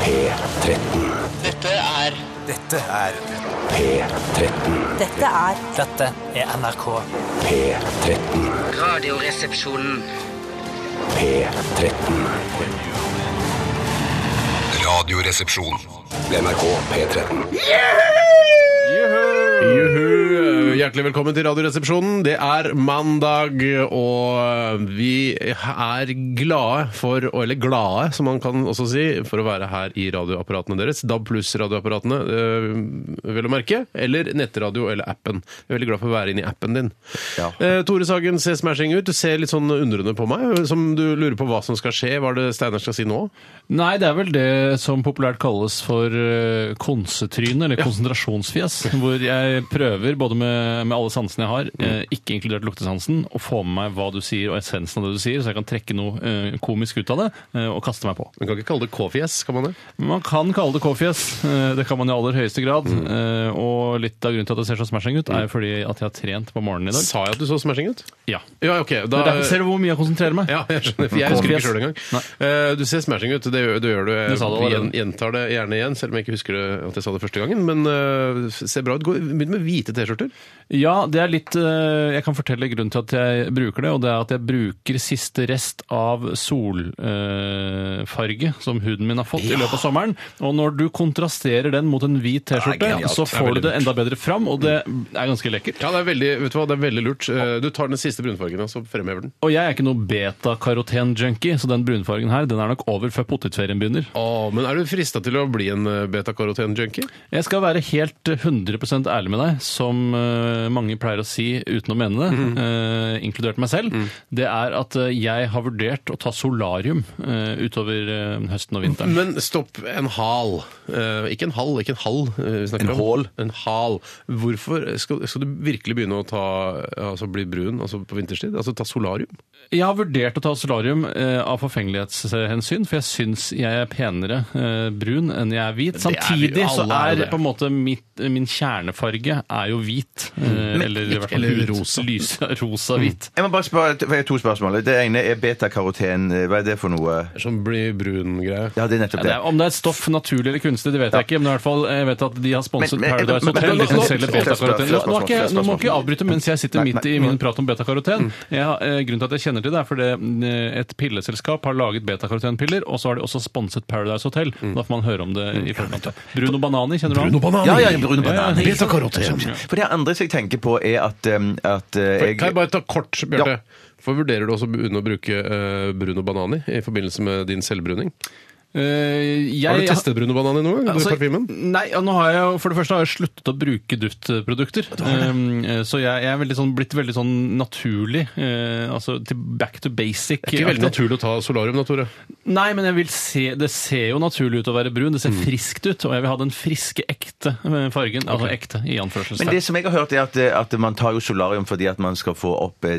P13. Dette er Dette er P13. Dette er Dette er NRK. P13. Radioresepsjonen. P13. Radioresepsjon. NRK P13. Juhu! Hjertelig velkommen til Radioresepsjonen. Det er mandag, og vi er glade for Eller glade, som man kan også si, for å være her i radioapparatene deres. DAB pluss-radioapparatene, eh, vel å merke. Eller nettradio eller appen. Jeg er veldig glad for å være inne i appen din. Eh, Tore Sagen ser smashing ut. Du ser litt sånn undrende på meg, som du lurer på hva som skal skje. Hva er det Steinar skal si nå? Nei, det er vel det som populært kalles for eh, konsetryne, eller konsentrasjonsfjes. Hvor jeg prøver, både med, med alle sansene jeg har, eh, ikke inkludert luktesansen, å få med meg hva du sier og essensen av det du sier, så jeg kan trekke noe eh, komisk ut av det eh, og kaste meg på. Man kan ikke kalle det K-fjes, kan man det? Man kan kalle det K-fjes. eh, Det kan man i aller høyeste grad. eh, Og litt av grunnen til at det ser så smashing ut, er fordi at jeg har trent på morgenen i dag. Sa jeg at du så smashing ut? Ja. Ja, ok. Det Da, er derfor ser du hvor mye jeg konsentrerer meg. Ja, jeg skjønner. For jeg husker det ikke sjøl engang. Eh, Du ser smashing ut. Det, gjør- det gjør du. Jeg Du sa det allerede. gjen- gjentar det gjerne igjen, selv om jeg ikke husker det, at jeg sa det første gangen. Men eh, ser bra ut. Gå- Begynn med hvite T-skjorter. Ja, det er litt eh, Jeg kan fortelle grunnen til at jeg bruker det, og det er at jeg bruker siste rest av solfarge som huden min har fått i løpet av sommeren. Og når du kontrasterer den mot en hvit Det T-skjorte, er genialt. så Det er får veldig Mm. du det enda bedre fram, og det er ganske lekkert. Ja, det er veldig, vet du hva, det er veldig lurt. Eh, Du tar den siste brunfargen, og så fremhever den. Og jeg er ikke noe beta-karoten-junkie, så den brunfargen her den er nok over før potetferien begynner. Å, men er du frista til å bli en eh, beta-karoten-junkie? Jeg skal være helt 100 ærlig med deg, som eh, mange pleier å si uten å mene det, Mhm. eh, inkludert meg selv. Det er at eh, jeg har vurdert å ta solarium eh, utover eh, høsten og vinteren. Men stopp en hal. Eh, ikke en hal, ikke en hall. eh, vi snakker En om. hål. En hal. Hvorfor skal, skal du virkelig begynne å ta, altså bli brun altså på vinterstid? Altså ta solarium? Jeg har vurdert å ta solarium eh, av forfengelighetshensyn, for jeg syns jeg er penere eh, brun enn jeg er hvit. vi- Samtidig så alle er er det. på en måte mitt, min kjernefarge er jo hvit. eh, Eller i hvert fall eller hud- rosa. lys- Rosa-hvit. Jeg må bare spørre, for jeg har to spørsmål. Det ene er betakaroten. Hva er det for noe? Sånn bli brun-greie. Ja, det er nettopp Ja, det. det er, om det er et stoff, naturlig eller kunstig, det vet jeg ikke. Men i hvert fall, jeg vet at de har sponset Men- men- Paradise men- Hotel. men- de som nå- selger nå- betakaroten. Nå, nå, har ikke jeg- nå må spørsmål. ikke jeg avbryte mens jeg sitter Nei, midt i nei. Mm. min prat om betakaroten. Jeg har, eh, Grunnen til at jeg kjenner til det, er fordi eh, et pilleselskap har laget betakarotenpiller, og så har de også sponset Paradise Hotel. Mm. Da får man høre om det i forkant. Bruno Banani, kjenner du han? Ja, ja, brune bananer. Beta-karoten. For det andre som jeg tenker på, er at, um, at uh, For, jeg kan jeg bare ta kort, Bjarte? Ja. For Vurderer du også å begynne å bruke eh, Bruno Banani i forbindelse med din selvbruning? Eh, jeg- Har du testet Bruno Banani noen gang? Altså, Altså, parfymen? Nei, ja, nå har jeg, jo- for det første har jeg sluttet å bruke duftprodukter. Um, eh, så jeg, jeg er veldig sånn, blitt veldig sånn naturlig. eh, altså til back to basic. Det er ikke veldig Aktig. naturlig å ta solarium, da, Tore. Nei, men jeg vil se, det ser jo naturlig ut å være brun. Det ser Mm. friskt ut. Og jeg vil ha den friske, ekte eh, fargen. Altså ekte, i men det anførselstegn. som jeg har hørt, er at, eh, at man tar jo solarium fordi at man skal få opp eh,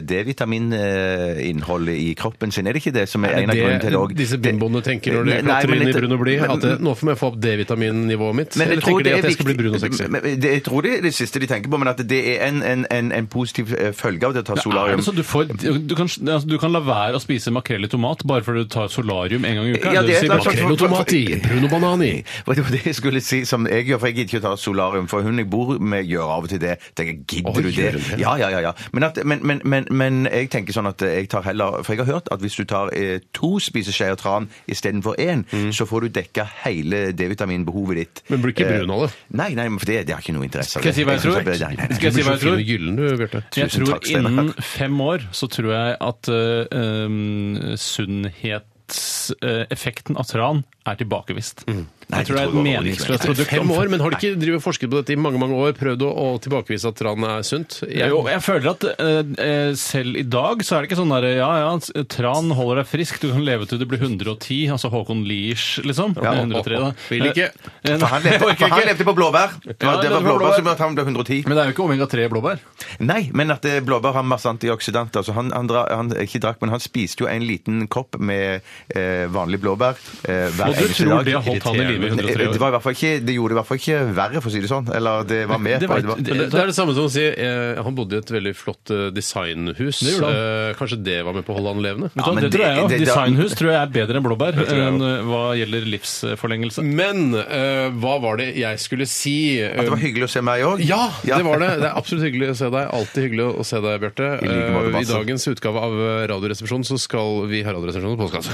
D-vitamininnholdet i kroppen sin. Er det ikke det som er, en av grunnene til det òg? disse bimboene tenker når de Nei, klatrer men inn i jeg- brun og blid? men- At det, nå får jeg få opp D-vitaminnivået mitt? Men jeg Eller tror tenker de det at er jeg skal bli viktig- brun og sexy? Men- men det- Jeg tror det er det siste de tenker på, men at det er en, en, en, en positiv eh, følge av det å ta Er solarium. det så du, får, du, kan, altså, du kan la være å spise makrell i tomat bare fordi du tar solarium en gang i uka? Ja, er det er det du sier? et slags- Makrell- Bruno Tomati, Bruno Banani. Og Det var det jeg skulle si, som jeg gjør, for jeg gidder ikke å ta solarium. For hun jeg bor med, gjør av og til det. Tenker, Å, gidder du det? gjør hun det? Ja, ja, ja. ja. Men, at, men, men, men, men jeg tenker sånn at jeg tar heller For jeg har hørt at hvis du tar eh, to spiseskjeer tran istedenfor én, så får du dekka hele D-vitaminbehovet ditt. Men blir ikke Eh, brun av det? Nei, nei, men for det, det har ikke noe interesse av Skal jeg si hva jeg tror? synes at det- nei, nei, nei. Skal jeg Du si blir hva så jeg fin tror? og gyllen, du, Bjarte. Jeg Tusen tror takk, Steinar. innen fem år så tror jeg at eh, um, sunnhetseffekten av tran er tilbakevist. Mm. Nei, jeg tror det er jeg et overhodet ikke. meningsløst produkt. Fem år, men har du ikke drevet og forsket på dette i mange mange år? Prøvd å, å tilbakevise at tran er sunt? Jeg- Jo, jeg føler at eh, eh, selv i dag så er det ikke sånn derre ja ja, s- tran holder deg frisk, du kan leve til du blir 110, altså Håkon Liers, liksom. Ja. 103, da. Vil ikke. Eh, eh, For han jeg levde, orker for han ikke. levde på blåbær. Det Ja, var, det var det var blåbær, blåbær. så ble han ble 110. Men det er jo ikke omega-3 blåbær. Nei, men at eh, blåbær har masse antioksidanter. Så han, han, dra- han ikke drakk, men han spiste jo en liten kopp med eh, vanlig blåbær eh, hver jeg du ikke i tror dag. det har holdt han i live i Det 103 det år? var i hvert fall ikke, det gjorde det i hvert fall ikke verre, for å si det sånn. Eller det var med. Det var- på- Men det, det er det samme som å si eh, han bodde i et veldig flott eh, designhus. Det gjorde han. Eh, kanskje det var med på å holde han levende? Vet du hva, men det tror jeg det- jo. det- det- Designhus tror jeg er bedre enn blåbær tror jeg enn, eh, hva gjelder livsforlengelse. Men eh, hva var det jeg skulle si? At det var hyggelig å se meg òg? Ja, det var det. Det er absolutt hyggelig å se deg. Alltid hyggelig å se deg, I Bjarte. like måte, Eh, I Basse. dagens utgave av eh, Radioresepsjonen så skal vi ha Radioresepsjonen på postkasse.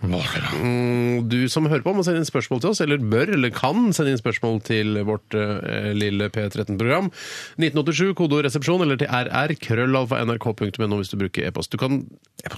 Mm, Du som hører på må sende inn spørsmål til oss, eller bør eller kan sende inn spørsmål til vårt eh, lille P13-program. 1987, kodeord resepsjon, eller til rr, krøllalfa nrk.no hvis du bruker e-post. Du kan,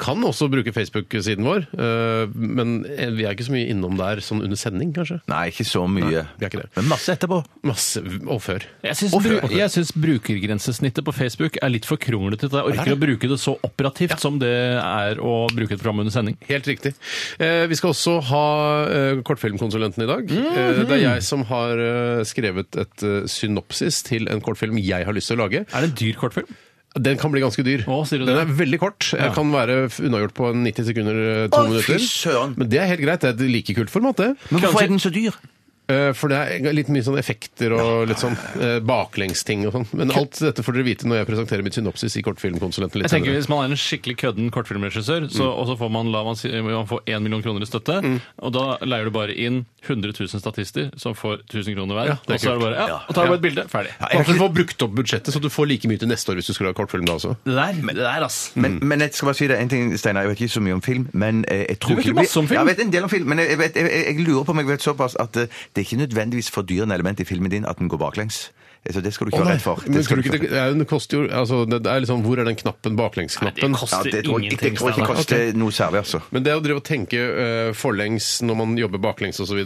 kan også bruke Facebook-siden vår, eh, men vi er ikke så mye innom der sånn under sending, kanskje. Nei, ikke så mye. vi er ikke det. Men masse etterpå. Masse og før. Jeg syns, Og før. bru- jeg syns brukergrensesnittet på Facebook er litt for kronglete til at jeg orker å bruke det så operativt som det er å bruke et program under sending. Helt riktig. Eh, vi skal også ha eh, kortfilmkonsulenten i dag. eh, det er jeg som har eh, skrevet et eh, synopsis til en kortfilm jeg har lyst til å lage. Er det en dyr kortfilm? Den kan bli ganske dyr. Å, sier du Den det? er veldig kort. Jeg Kan være f- unnagjort på 90 sekunder, eh, to Å, fy minutter. søren! Men det er helt greit. Det er et like kult format, det. Men hvorfor er den så dyr? Eh, For det er litt mye sånn effekter og litt sånn eh, baklengsting og sånn. Men alt dette får dere vite når jeg presenterer mitt synopsis i Kortfilmkonsulenten litt Jeg tenker senere. Hvis man er en skikkelig kødden kortfilmregissør, så, Mm. og så får man, la man, si, man får 1 million kroner i støtte, og da leier du bare inn 100 000 statister som får 1000 kroner hver. Ja, det er og så er det kult. bare, ja, og tar du bare et bilde. Ferdig. Bare for å få brukt opp budsjettet, så du får like mye til neste år hvis du skulle ha kortfilm da også. Det der, det der, ass. Men, men jeg skal bare si det, en ting, Steinar, jeg vet ikke så mye om film, men eh, jeg vet tror jo ikke det blir- masse om film. Ja, jeg vet en del om film, men jeg, vet, jeg, jeg, jeg lurer på om jeg vet såpass at eh, det er ikke nødvendigvis fordyrende element i filmen din at den går baklengs. Eh, Så det skal du ikke være redd for. Det Men skal tror du du ikke det, det, er, det koster jo altså, det er liksom, Hvor er den knappen, baklengsknappen? Nei, det koster- ja, det tror jeg ikke, det tror jeg ikke Ingenting, koster noe særlig, altså. Men det å drive og tenke eh, forlengs når man jobber baklengs osv.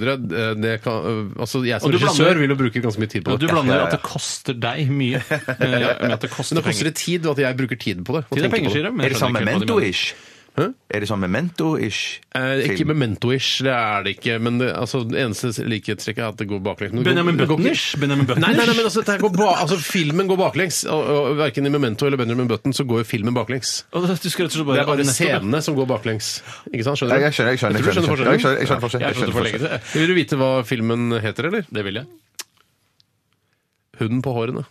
Altså, jeg som Og du regissør blander- vil jo bruke ganske mye tid på Og du det. blander ja, ja. at det koster deg mye eh, med at det koster Men det koster penger. litt tid, og at jeg bruker tid på det. og Tid er tenker på penger, sier de, men Er jeg det skjønner sånn ikke helt hva de mener. memento-ish? Er det sånn memento-ish? Eh, ikke film? memento-ish, det er det ikke. Men det, altså, det eneste likhetstrekket er at det går baklengs. Men det går- Benjamin det går ikke- Button-ish? Benjamin Button-ish? Nei, nei, nei, men altså, dette her går ba, altså, filmen går baklengs. Og, og, verken i Memento eller Benjamin Button så går jo filmen baklengs. Og det- du skal rett og slett Det er bare nettopp- scenene som går baklengs. Ikke sant? Ja, Skjønner du? jeg skjønner, jeg skjønner. Jeg tror du skjønner Ja, jeg skjønner, forskjellen. jeg skjønner forskjellen. Jeg skjønner Jeg skjønner forskjellen. forlegget det. Vil du vite hva filmen heter, eller? Det vil jeg. Hunden på hårene.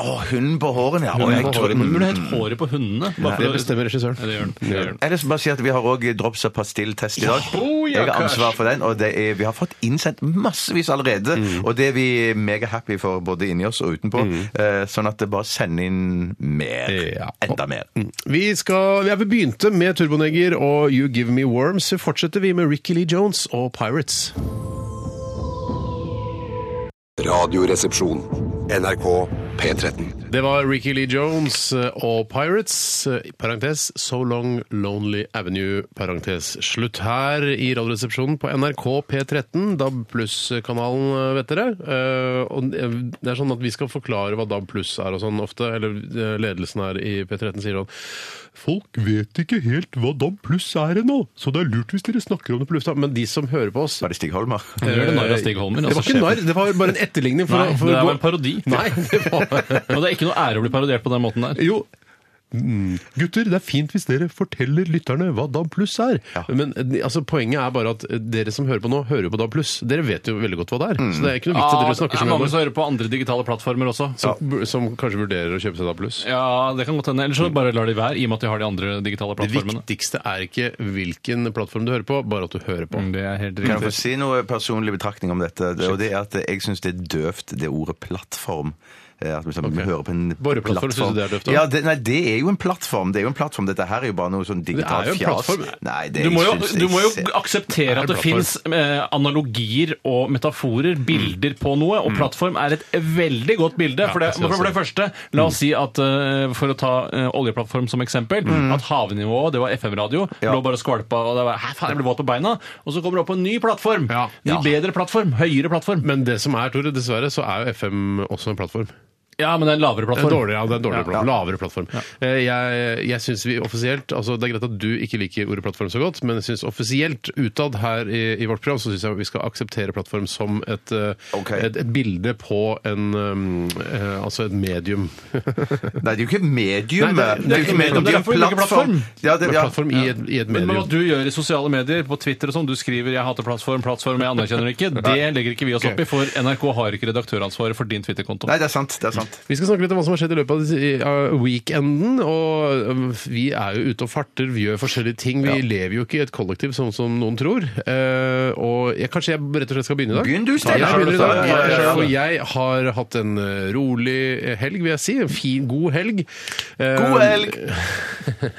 Å, hunden på hårene, ja. Å, Men jeg tror- burde hett håret på hundene. bare for Det å- bestemmer regissøren. Ja, det gjør den. Det gjør den. Ellers bare si at Vi har òg drops og pastilltest i dag. Oh, Jeg har ansvar for den, og det er, vi har fått innsendt massevis allerede. Mm. Og det er vi megahappy for både inni oss og utenpå. Eh, sånn at det bare sender inn mer. Ja. Mm. Enda mer. Vi, skal, ja, vi begynte med Turboneger og You Give Me Worms. Så fortsetter vi med Ricky Lee Jones og Pirates. Radioresepsjon. NRK P13. Det var Ricky Lee Jones eh, og Pirates, eh, i parentes So Long Lonely Avenue, parentes slutt. Her i Radioresepsjonen på NRK P13, DAB Pluss-kanalen, vet dere. Eh, Og det er sånn at vi skal forklare hva DAB Pluss er og sånn ofte, eller eh, ledelsen her i P13 sier sånn Folk vet ikke helt hva DAB Pluss er ennå, så det er lurt hvis dere snakker om det på lufta. Men de som hører på oss eh, Var det Stig Holmer? Du gjør det narr av Stig Holmer. det var altså ikke sjefen. narr, det var bare en etterligning. For, Nei, å- for det å er gå- en parodi. Nei, det var Og det er ikke noe ære å bli parodiert på den måten der. Jo. Mm. Gutter, det er fint hvis dere forteller lytterne hva DAB pluss er. Men eh, altså, poenget er bare at eh, dere som hører på nå, hører jo på DAB pluss. Dere vet jo veldig godt hva det er. Så det er ikke noe vits i at dere snakker Ja, så mye om mange det. som hører på andre digitale plattformer også. Som, bu- som kanskje vurderer å kjøpe seg DAB pluss. Ja, det kan godt hende. Ellers så bare lar de være, i og med at de har de andre digitale Det plattformene. viktigste er ikke hvilken plattform du hører på, bare at du hører på. Det er helt Kan jeg få riktig. si noe personlig betraktning om dette? Det, og det er at Jeg syns det er døvt, det ordet plattform. Eh, At vi liksom hører på en Boreplattform, synes du det er døvt også? Ja, det, nei, det er jo en plattform. Det er jo en plattform. Dette her er jo bare noe sånn digitalt jo en fjas. plattform. Nei, det Du må jo, jeg synes- du må jo jeg ser- akseptere at det plattform. fins eh, analogier og metaforer, bilder på noe, og plattform er et veldig godt bilde. For det, jeg synes for det første, la oss si at eh, for å ta eh, oljeplattform som eksempel, at havnivået, det var FM-radio, Ja. lå bare og skvalpa, og det var Hæ, faen, jeg ble våt på beina! Og så kommer det opp på en ny plattform! Ja. Ny bedre plattform! Høyere plattform! Men det som er, Tore, dessverre, så er jo FM også en plattform. Ja, men det er en lavere Det er plattform. en dårligere, ja, det er en dårligere Ja. plattform. Lavere plattform. Eh, Jeg, jeg synes vi offisielt altså Det er greit at du ikke liker ordet plattform så godt, men jeg syns offisielt utad her i, i vårt program så syns jeg vi skal akseptere plattform som et, eh, Ok. et, et bilde på en um, eh, Altså et medium. Nei, det er jo ikke medium. eh, Nei, det er- det er jo ikke medium, det er derfor vi lager plattform. Ja, det, ja. plattform i et, i et Men medium. hva du gjør i sosiale medier, på Twitter og sånn, du skriver 'jeg hater plattform', 'plattform', jeg anerkjenner det ikke, det legger ikke vi oss opp i, for NRK har ikke redaktøransvaret for din Twitter-konto. Nei, det er sant. det er sant. Vi skal snakke litt om hva som har skjedd i løpet av disse- i, uh, weekenden. og um, Vi er jo ute og farter, vi gjør forskjellige ting. Vi lever jo ikke i et kollektiv sånn som noen tror. Eh, og jeg, Kanskje jeg rett og slett skal begynne i dag? Begynn du, Steinar. Jeg begynner i Ja, dag. ja, ja, ja. For jeg har hatt en eh, rolig helg, vil jeg si. En fin, god helg. Eh, God helg! eh,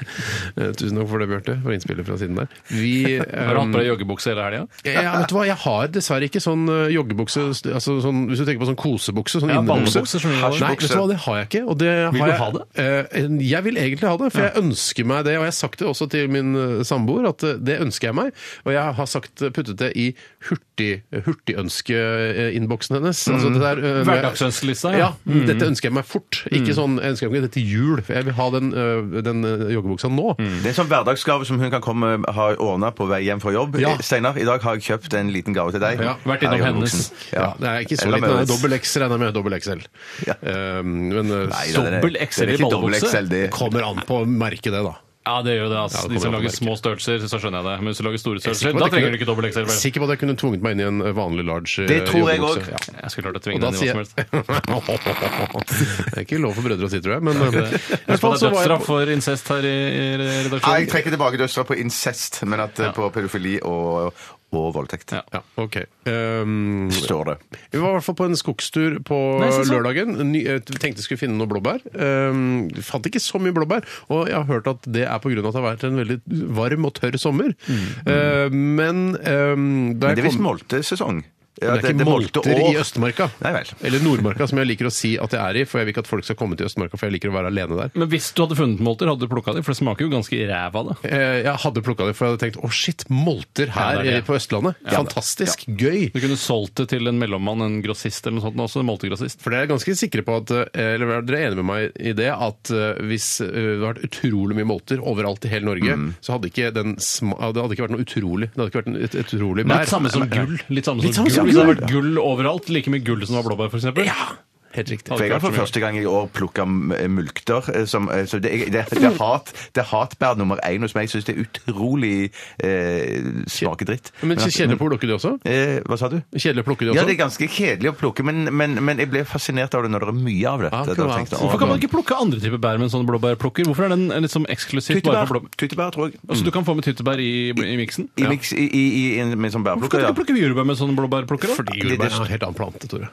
Tusen takk for det, Bjarte, for innspillet fra siden der. Vi, Har du hatt um, på deg joggebukse hele helga? ja, vet du hva? Jeg har dessverre ikke sånn eh, joggebukse altså sånn, Hvis du tenker på sånn kosebukse, sånn Ja, innebukse. ballebukse, skjønner du hva det er. Nei, vet du hva, det har jeg ikke. Og det Vil har du jeg, ha det? Eh, jeg vil egentlig ha det, for jeg ønsker meg det. Og jeg har sagt det også til min eh, samboer, at eh, det ønsker jeg meg. Og jeg har sagt, eh, puttet det i hurtig, hurtigønskeinnboksen hennes. Altså det der, eh, når jeg- Hverdagsønskelista, Mm. ja. Mm. Ja. Dette ønsker jeg meg fort. Ikke sånn jeg ønsker meg ikke dette til jul. for Jeg vil ha den, eh, den eh, joggebuksa nå. Mm. Det er en sånn hverdagsgave som hun kan komme ha ordna på vei hjem fra jobb. Eh, Ja. Steinar, i dag har jeg kjøpt en liten gave til deg. Ja, vært innom Her i hennes. buksen. Ja. det er ikke så Eller liten. den er Maurits. Dobbel X regner jeg med. Dobbel XL. Ja. Eh, men eh, Nei, så det er- det er Dobbel XL i ikke dobbel ballebukse? XL, det- kommer an på å merke det, da. Ja, det gjør det. altså. Ja, det De som kommer an på lager små størrelser, så skjønner jeg det. Men hvis du lager store størrelser, da trenger du ikke dobbel XL. vel? Sikker på at jeg kunne tvunget meg inn i en vanlig large eh, Det tror jeg joggebukse. også. Ja. Jeg skulle klart å Og tvinge da den i hva sier som jeg helst. Det er ikke lov for brødre å si, tror jeg. Men eh, i hvert Husk på fall at det er så var jeg dødsstraff på- for incest her i i Nei, jeg redaksjonen. trekker tilbake dødsstraff på incest, men at eh, på pedofili og, og voldtekt. Ja. ja, ok. Um, Står det. vi var i hvert fall på en skogstur på Nei, så sånn. lørdagen. Ny, eh, tenkte jeg skulle finne noen blåbær. Um, fant ikke så mye blåbær. Og jeg har hørt at det er pga. at det har vært en veldig varm og tørr sommer. Mm. Eh, men um, da Men det jeg er visst kom- moltesesong. det Ja, er ikke molter i Østmarka. Nei vel. Eller Nordmarka, som jeg liker å si at jeg er i, for jeg vil ikke at folk skal komme til Østmarka, for jeg liker å være alene der. Men hvis du hadde funnet molter, hadde du plukka dem? For det smaker jo ganske ræv av det. Eh, Jeg hadde plukka det, for jeg hadde tenkt å shit, molter Ja, det her er det. eh, på Østlandet. Fantastisk. Du Gøy. kunne solgt det til en mellommann, en grossist eller noe sånt, også en moltegrossist. For dere er ganske sikre på at eh, Eller er dere enige med meg i det at eh, hvis eh, det hadde vært utrolig mye molter overalt i hele Norge, Mm. så hadde ikke den sma, ja, det hadde ikke vært noe utrolig. Det hadde ikke vært en, et et utrolig bær. Litt samme som gull. Litt samme som Litt samme gull. som Hvis det hadde gull. vært gull overalt, like mye gull som det var blåbær, f.eks. Ja, Helt riktig. For jeg har for første gang i år plukka mulkter. eh, Som, eh, så det, er- det, er- det er hat, det er hatbær nummer én hos meg. Jeg syns det er utrolig eh, smakedritt. Men at- kjedelig å plukke de også? Eh, hva sa du? Kjedelig å plukke de Ja, også? det er ganske kjedelig å plukke, men, men, men jeg ble fascinert av det når det er mye av det. Ja, Da akkurat. tenkte jeg, Hvorfor kan «Å, man ikke plukke andre typer bær med en sånn blåbærplukker? Hvorfor er den liksom eksklusivt bare for Tyttebær, blåbær? tyttebær, tror jeg. Altså, du kan få med tyttebær i, i miksen. I mix, i, i, i, en- med sånn Hvorfor kan bærplukker, du ja. ikke plukke jordbær med en sånn blåbærplukker? da? Fordi det- jordbær er en helt annen plante, Tore.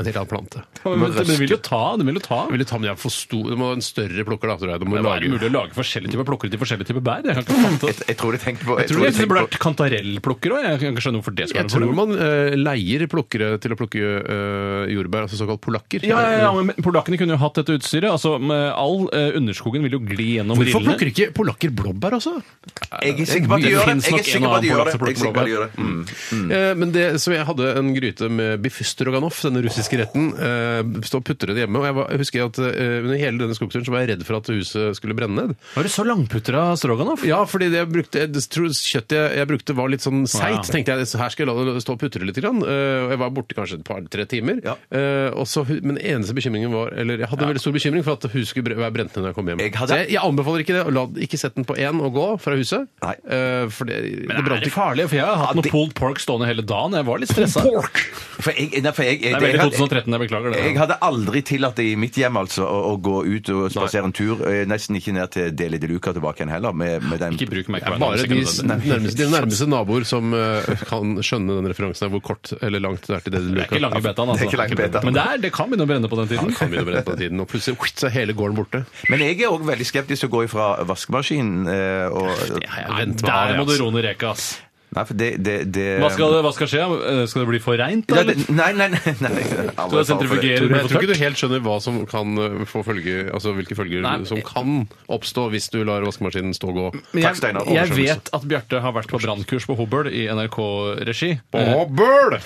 En helt annen plante. Ja, men, men, den vil jo ta. Den vil jo ta. Jeg ville ta med deg for stor, du må ha en større plukker, da, tror jeg. Du må Det må være lage mulig å lage forskjellige typer plukkere til forskjellige typer bær. Jeg kan ikke fatte Jeg, jeg tror de tenkte på Jeg tror det de burde tenkte vært kantarellplukker òg. Jeg kan ikke skjønne hvorfor det skal Jeg være tror noe problem. man eh, leier plukkere til å plukke eh, jordbær, altså såkalt polakker. Ja, ja, ja, men Polakkene kunne jo hatt dette utstyret. altså med All eh, underskogen vil jo gli gjennom Hvorfor rillene. plukker ikke polakker blåbær også? Jeg er sikker på at de Det gjør det. finnes Jeg nok er en sikker på og at annen de gjør det. som plukker Jeg er sikker på at de gjør det. Mm. Eh, men det, så jeg hadde en gryte med biff stroganoff, denne russiske retten. Eh, stå og putre det hjemme. Og jeg, var, jeg husker at eh, under hele denne skogturen så var jeg redd for at huset skulle brenne ned. Var det så langputra stroganoff? Ja, fordi det jeg brukte, jeg tror kjøttet jeg, jeg brukte var litt sånn seigt. ja. Tenkte jeg, så her skal jeg la det stå og putre litt. Grann. Eh, og jeg var borte kanskje et par-tre timer. Ja. Eh, og så, men eneste bekymringen var Eller jeg hadde en veldig stor bekymring for at huset skulle bre- være brent ned når jeg kom hjem. Jeg hadde- Så jeg, jeg anbefaler ikke det. La, ikke sett den på én og gå fra huset. Nei. Eh, for det, det Det brant brant ikke. farlig, for jeg har hatt Ja, noe det- pulled pork stående hele dagen. Jeg var litt stressa. Det For jeg, nei, for jeg, jeg, er jeg, veldig hadde- 2013, jeg beklager det. jeg hadde aldri tillatt det i mitt hjem altså, å, å gå ut og spasere en tur. Eh, Nesten ikke ned til Deli de Luca tilbake igjen heller. Med, med den. Ikke bruk meg Det er Bare de s- nærmeste, de nærmeste naboer som eh, kan skjønne den referansen av hvor kort eller langt det er til det du Det er ikke lange betaen, altså. Det er ikke lange betaen. Men det, er, det kan begynne å brenne på den tiden. Kan begynne å brenne på den tiden, og plutselig whitt, så er hele gården borte. Men jeg er òg veldig skeptisk til å gå ifra vaskemaskinen. eh, Og, Jeg venter meg Der av det, må du altså. roe ned reka, ass. Nei, for det, det, det Hva skal, hva skal skje? Eh, Skal det bli for reint? da, Eh, Ja, eller? det, nei, nei, nei, nei. Så det sentrifugerer Jeg tror det ikke du helt skjønner hva som kan eh, få følge, altså hvilke følger Nei, men- som kan oppstå hvis du lar vaskemaskinen stå og gå. Men Takk, Steinar. jeg, jeg Oversvømmelse. vet at Bjarte har vært på brannkurs på Hobøl i NRK-regi. Å, bøl!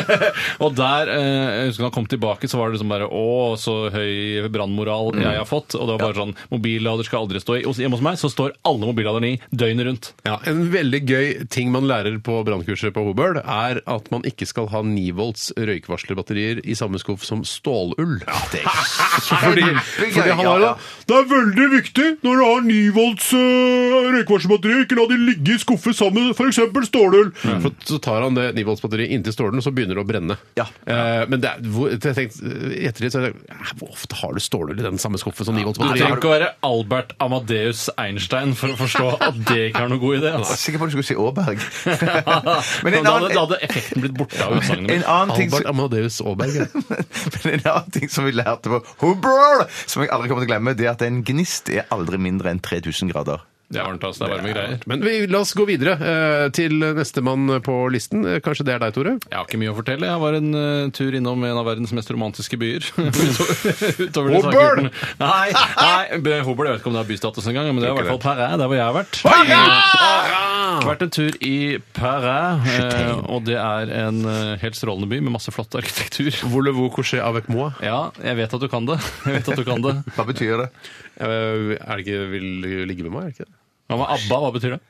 og der, eh, jeg husker da han kom tilbake, så var det liksom bare Å, så høy brannmoral jeg har fått. Og det var bare sånn Mobillader skal aldri stå i. Og så hjemme hos meg så står alle mobilladerne i døgnet rundt. Ja, En veldig gøy ting man lærer på brannkurset på Hobøl, er at man ikke skal ha 9 volts røykvarslerbatterier i samme skuff som stålull. Ja, det er fordi, fordi han har ja, da ja. Det er veldig viktig når du har 9 volts eh, røykvarslerbatterier, ikke la de ligge i skuffer sammen med f.eks. stålull. For så tar han det 9 volts batteriet inntil stålen, og så begynner det å brenne. Ja. Eh, men det er, hvor, jeg tenkte, i ettertid så har jeg tenkt, "Hæ, Hvor ofte har du stålull i den samme skuffen som 9 volts Du trenger batterier? ikke å være Albert Amadeus Einstein for å forstå at det ikke er noe god idé. Jeg Altså. er sikker på at du skulle si Aaberg. Men da, hadde, da hadde effekten blitt borte av utsagnet En mitt. annen, ting, Albert som- Amadeus Aaberg. ja. men en annen ting som vi lærte på Hobro, som jeg aldri kommer til å glemme, det er at en gnist er aldri mindre enn 3000 grader. Det er varmt, altså. Det er varme greier. Men vi, la oss gå videre eh, til nestemann på listen. Eh, Kanskje det er deg, Tore? Jeg har ikke mye å fortelle. Jeg var en eh, tur innom en av verdens mest romantiske byer. Utover de Hobøl! sakene. Nei, nei be- Hobøl, jeg vet ikke om det har bystatus engang, men det er i hvert fall Perret, der hvor jeg har vært. Vært en tur i Perret, eh, og det er en eh, helt strålende by med masse flott arkitektur. Voulez-vous coucher avec moi? Ja, jeg vet at du kan det. Jeg vet at du kan det. Hva betyr det? Eh, Er det ikke Vil du ligge med meg? er det ikke det? Hva med ABBA? Hva betyr det?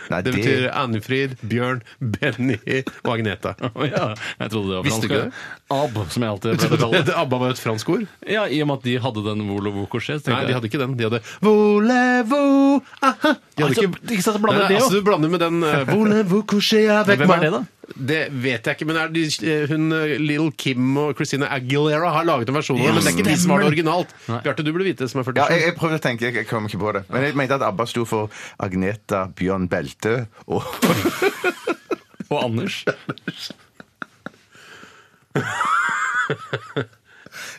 Nei, Det betyr Annefrid, Bjørn, Benny og Agneta. Ja, jeg trodde det var fransk. Visste ikke det? AB, som jeg alltid pleier å Trodde du kalle det. at ABBA var et fransk ord? Ja, I og med at de hadde den Volo Vokosje. Nei, de hadde ikke den. De hadde Voulez-vous aha. De hadde Altså, ikke ikke sant, så blander Nei, det altså, også. Du blander med den eh, Voulez-vous coucher avec Hvem moi? er det, da? Det vet jeg ikke, men er de, eh, hun eh, Little Kim og Christina Aguilera har laget en versjon av det, men det er ikke de som har det originalt. Bjarte, du burde vite det som er 47. Ja, jeg, jeg prøvde å tenke, jeg, jeg kom ikke på det. Men jeg mente at ABBA sto for Agneta, Bjørn Belte og Og Anders.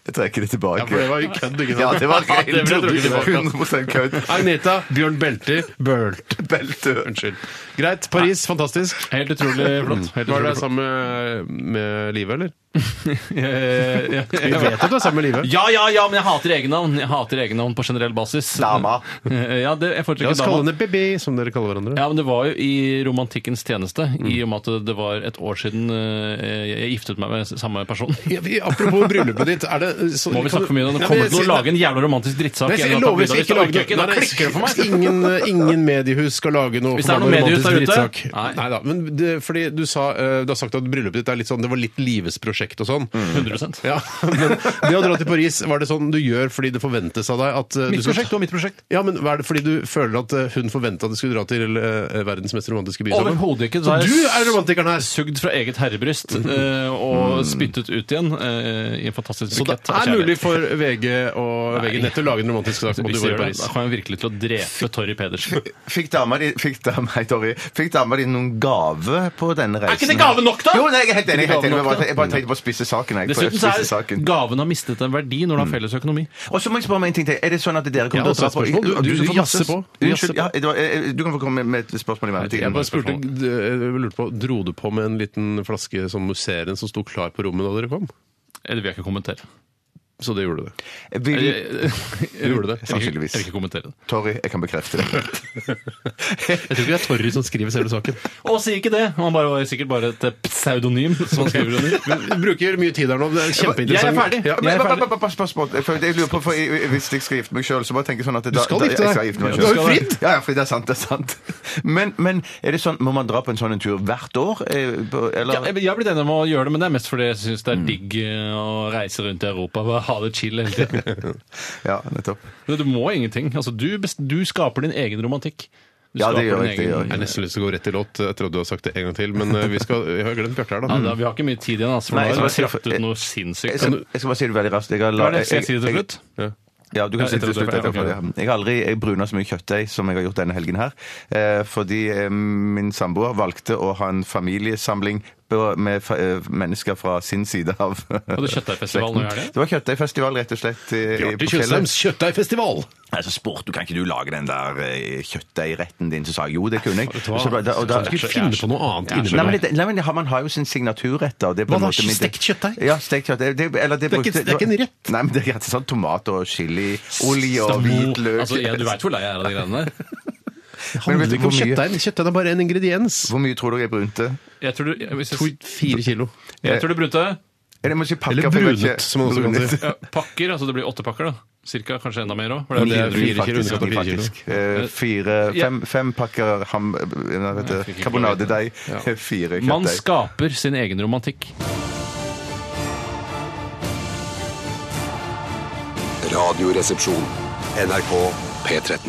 Jeg trekker det tilbake. Ja, for det var jo kødd, ikke sant? Ja, det var Ja, det ble trukket tilbake. 100 kødd. Agneta, Bjørn Belter, Bølt. Belte. Unnskyld. Greit. Paris, fantastisk. Helt utrolig flott. Helt Var utrolig det flott. sammen med, med Live, eller? Eh, Jeg ja. vet at du er sammen med Live. ja, ja, ja, men jeg hater egennavn. Jeg hater egennavn på generell basis. Dama. Eh, Ja, det, jeg La foretrekker oss kalle dama. henne Bibi, som dere kaller hverandre. Ja, men Det var jo i romantikkens tjeneste, i og med at det var et år siden eh, jeg giftet meg med samme person. Ja, vi- apropos bryllupet ditt, er det så, Må vi kan du- snakke for mye om det? Nei, Kommer men til å jeg- lage en jævla romantisk drittsak. i en Nei, jeg eller annen lover vi tabloid. skal ikke Da orker lage jeg ikke. noe. Da Nei, klikker det for meg. Ingen, eh, ingen mediehus skal lage noe Hvis det er forbanna noen mediehus der romantisk ute. drittsak. Nei. Neida, Men det, fordi du, sa, eh, du har sagt at bryllupet ditt er litt sånn, det var litt Lives prosjekt og sånn. 100 Ja, men det å dra til Paris, var det sånn du gjør fordi det forventes av deg at eh, du Mitt skal- prosjekt og mitt prosjekt. Ja, men hva er det fordi du føler at eh, hun forventa at du skulle dra til eh, verdens mest romantiske by sammen? Overhodet ikke. Så Da du er romantikeren her! sugd fra eget herrebryst eh, og spyttet ut igjen eh, i en fantastisk Så det bukett. av er kjærlighet. mulig for VG og VG Nett å lage en romantisk sak om at Hvis du de var i gjør det, Paris. da kommer jeg virkelig til å drepe Torry Pedersen. Fikk dama di fikk dama, hei, Torry. fikk dama di noen gave på denne reisen? ikke det gave nok, da? Jo, nei, jeg er helt enig. Jeg, er helt Er det enig. jeg, gave nok, bare, jeg bare tenkte på å spisse saken. Jeg, Dessuten så Spisse er saken. gaven har mistet en verdi når den har felles økonomi. Og så må jeg spørre om en ting til. Er det sånn at dere Ja, kommer til å også dra et på spørsmål. Du- du- får du masse- jasser på. Du jasser Unnskyld. Ja, det var- eh, du kan få komme med et spørsmål i Jeg mellomtiden. bare spurte, d- jeg lurte på, Dro du på med en liten flaske som museeren som sto klar på rommet da dere kom? Eller vil jeg Eh, ikke kommentere. Så det gjorde du. Vil, Jeg gjorde det, sannsynligvis. Jeg vil ikke kommentere det. Torry, jeg kan bekrefte det. Jeg tror ikke det er Torry som skriver selve saken. Og sier ikke det! Han bare var sikkert bare et eh, pseudonym. som han skriver under. Men Vi bruker mye tid her nå. Det er kjempeinteressant. Jeg er ferdig. Ja, Men, men- bare- bare- bare- bare spørsmål. For jeg lurer på, for jeg- jeg- Hvis jeg skal gifte meg sjøl, så bare tenker jeg sånn at da, skal da- gifte jeg deg. skal gifte meg Du selv. er jo fritt. Ja, ja, fri, det er sant. det er sant men, men er det sånn, må man dra på en sånn en tur hvert år? eh, på- Eller? Ja, jeg jeg har blitt enig om å gjøre det, men det er mest fordi jeg syns det er digg eh, å reise rundt i Europa og ha det chill hele tiden. Ja, nettopp. Men Du må ingenting. Altså, du, best- du skaper din egen romantikk. Du Ja, det skaper gjør din jeg, det egen- gjør Jeg har nesten lyst til å gå rett i låt etter at du har sagt det en gang til, men eh, vi skal, jeg har glemt Bjarte her, da. Ja, da, vi har ikke mye tid igjen, altså, for Mm. Nei, nå har jeg skal jeg lagt bare si- ut noe Jeg sinnssykt. skal, jeg skal bare si det veldig raskt. Jeg har la- Hva er det? Skal jeg si det til jeg- slutt? Ja, du Ja, kan si det etter til at du slutt. er ferdig, etterpå, ok. ja. Jeg har aldri bruna så mye kjøttdeig som jeg har gjort denne helgen her. eh, Fordi eh, min samboer valgte å ha en familiesamling grupper med fa- eh, mennesker fra sin side av Hadde kjøttdeigfestival nå i helgen? Det var kjøttdeigfestival, rett og slett. i- i- på Bjarte fjellet. Tjøstheims kjøttdeigfestival! Nei, så spurte du kan ikke du lage den der eh, kjøttdeigretten din, så sa jeg jo, det kunne jeg. du hva? Så ble det- og da- Kan du ikke finne på noe annet Ja, innimellom? Nei, men, det- nei, men har- man har jo sin signaturrett, da. og Det er på en Hva da? måte min- Stekt kjøttdeig? Ja, stekt kjøttdeig. Det, eller det, Det er ikke- brukte- det er ikke en rett. Nei, men det er sånn tomat og chili, olje og Stamo. hvitløk. Altså, jeg, du veit hvor lei jeg er av de greiene der. Det Men vet handler du ikke om hvor mye- kjøttdeig. Kjøttdeig er bare en ingrediens. Hvor mye tror dere er brunte? Jeg tror du, hvis jeg, To-fire kilo. jeg tror du brunte Eller, jeg må si pakker, Eller for jeg vet brunet, ikke- som man også kan Brunet. si. ja, pakker, altså det blir åtte pakker, da. Cirka, kanskje enda mer òg. det er Ni fire kilo, faktisk, underkant av ni fire kilo. faktisk. Eh, Fire, Ja. fem, fem pakker ham... Hva heter det? Karbonadedeig. Fire kjøttdeig. Man skaper sin egen romantikk. Radioresepsjon. NRK P13.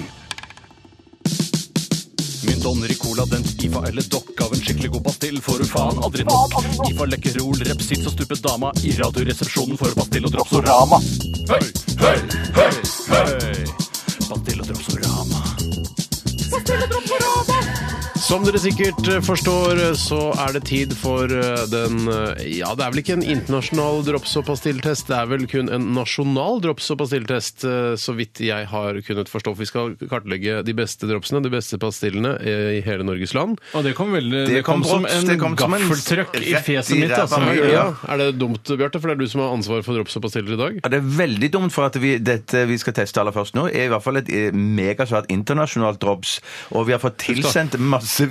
Mynt, donner i cola, den skifa eller dokk av en skikkelig god pastill får du faen aldri nok. Skifa, lekkerol, repsits og stupet dama i radioresepsjonen for pastill og dropsorama. Høy, høy, høy, høy. Pastill og dropsorama. Som dere sikkert eh, forstår, eh, så er det tid for eh, den eh, Ja, det er vel ikke en internasjonal drops- og pastilltest, det er vel kun en nasjonal drops- og pastilltest, eh, så vidt jeg har kunnet forstå. For vi skal kartlegge de beste dropsene, de beste pastillene eh, i hele Norges land. Og det kom veldig Det, Det kom, kom som brått, en det kom som en gaffeltrøkk i rett i fjeset mitt. ræva Altså. med øl. Ja. Ja, Er det dumt, Bjarte? For det er du som har ansvaret for drops og pastiller i dag. Ja, det er veldig dumt, for at vi, dette vi skal teste aller først nå, er i hvert fall et eh, megasvært internasjonalt drops. Og vi har fått tilsendt massevis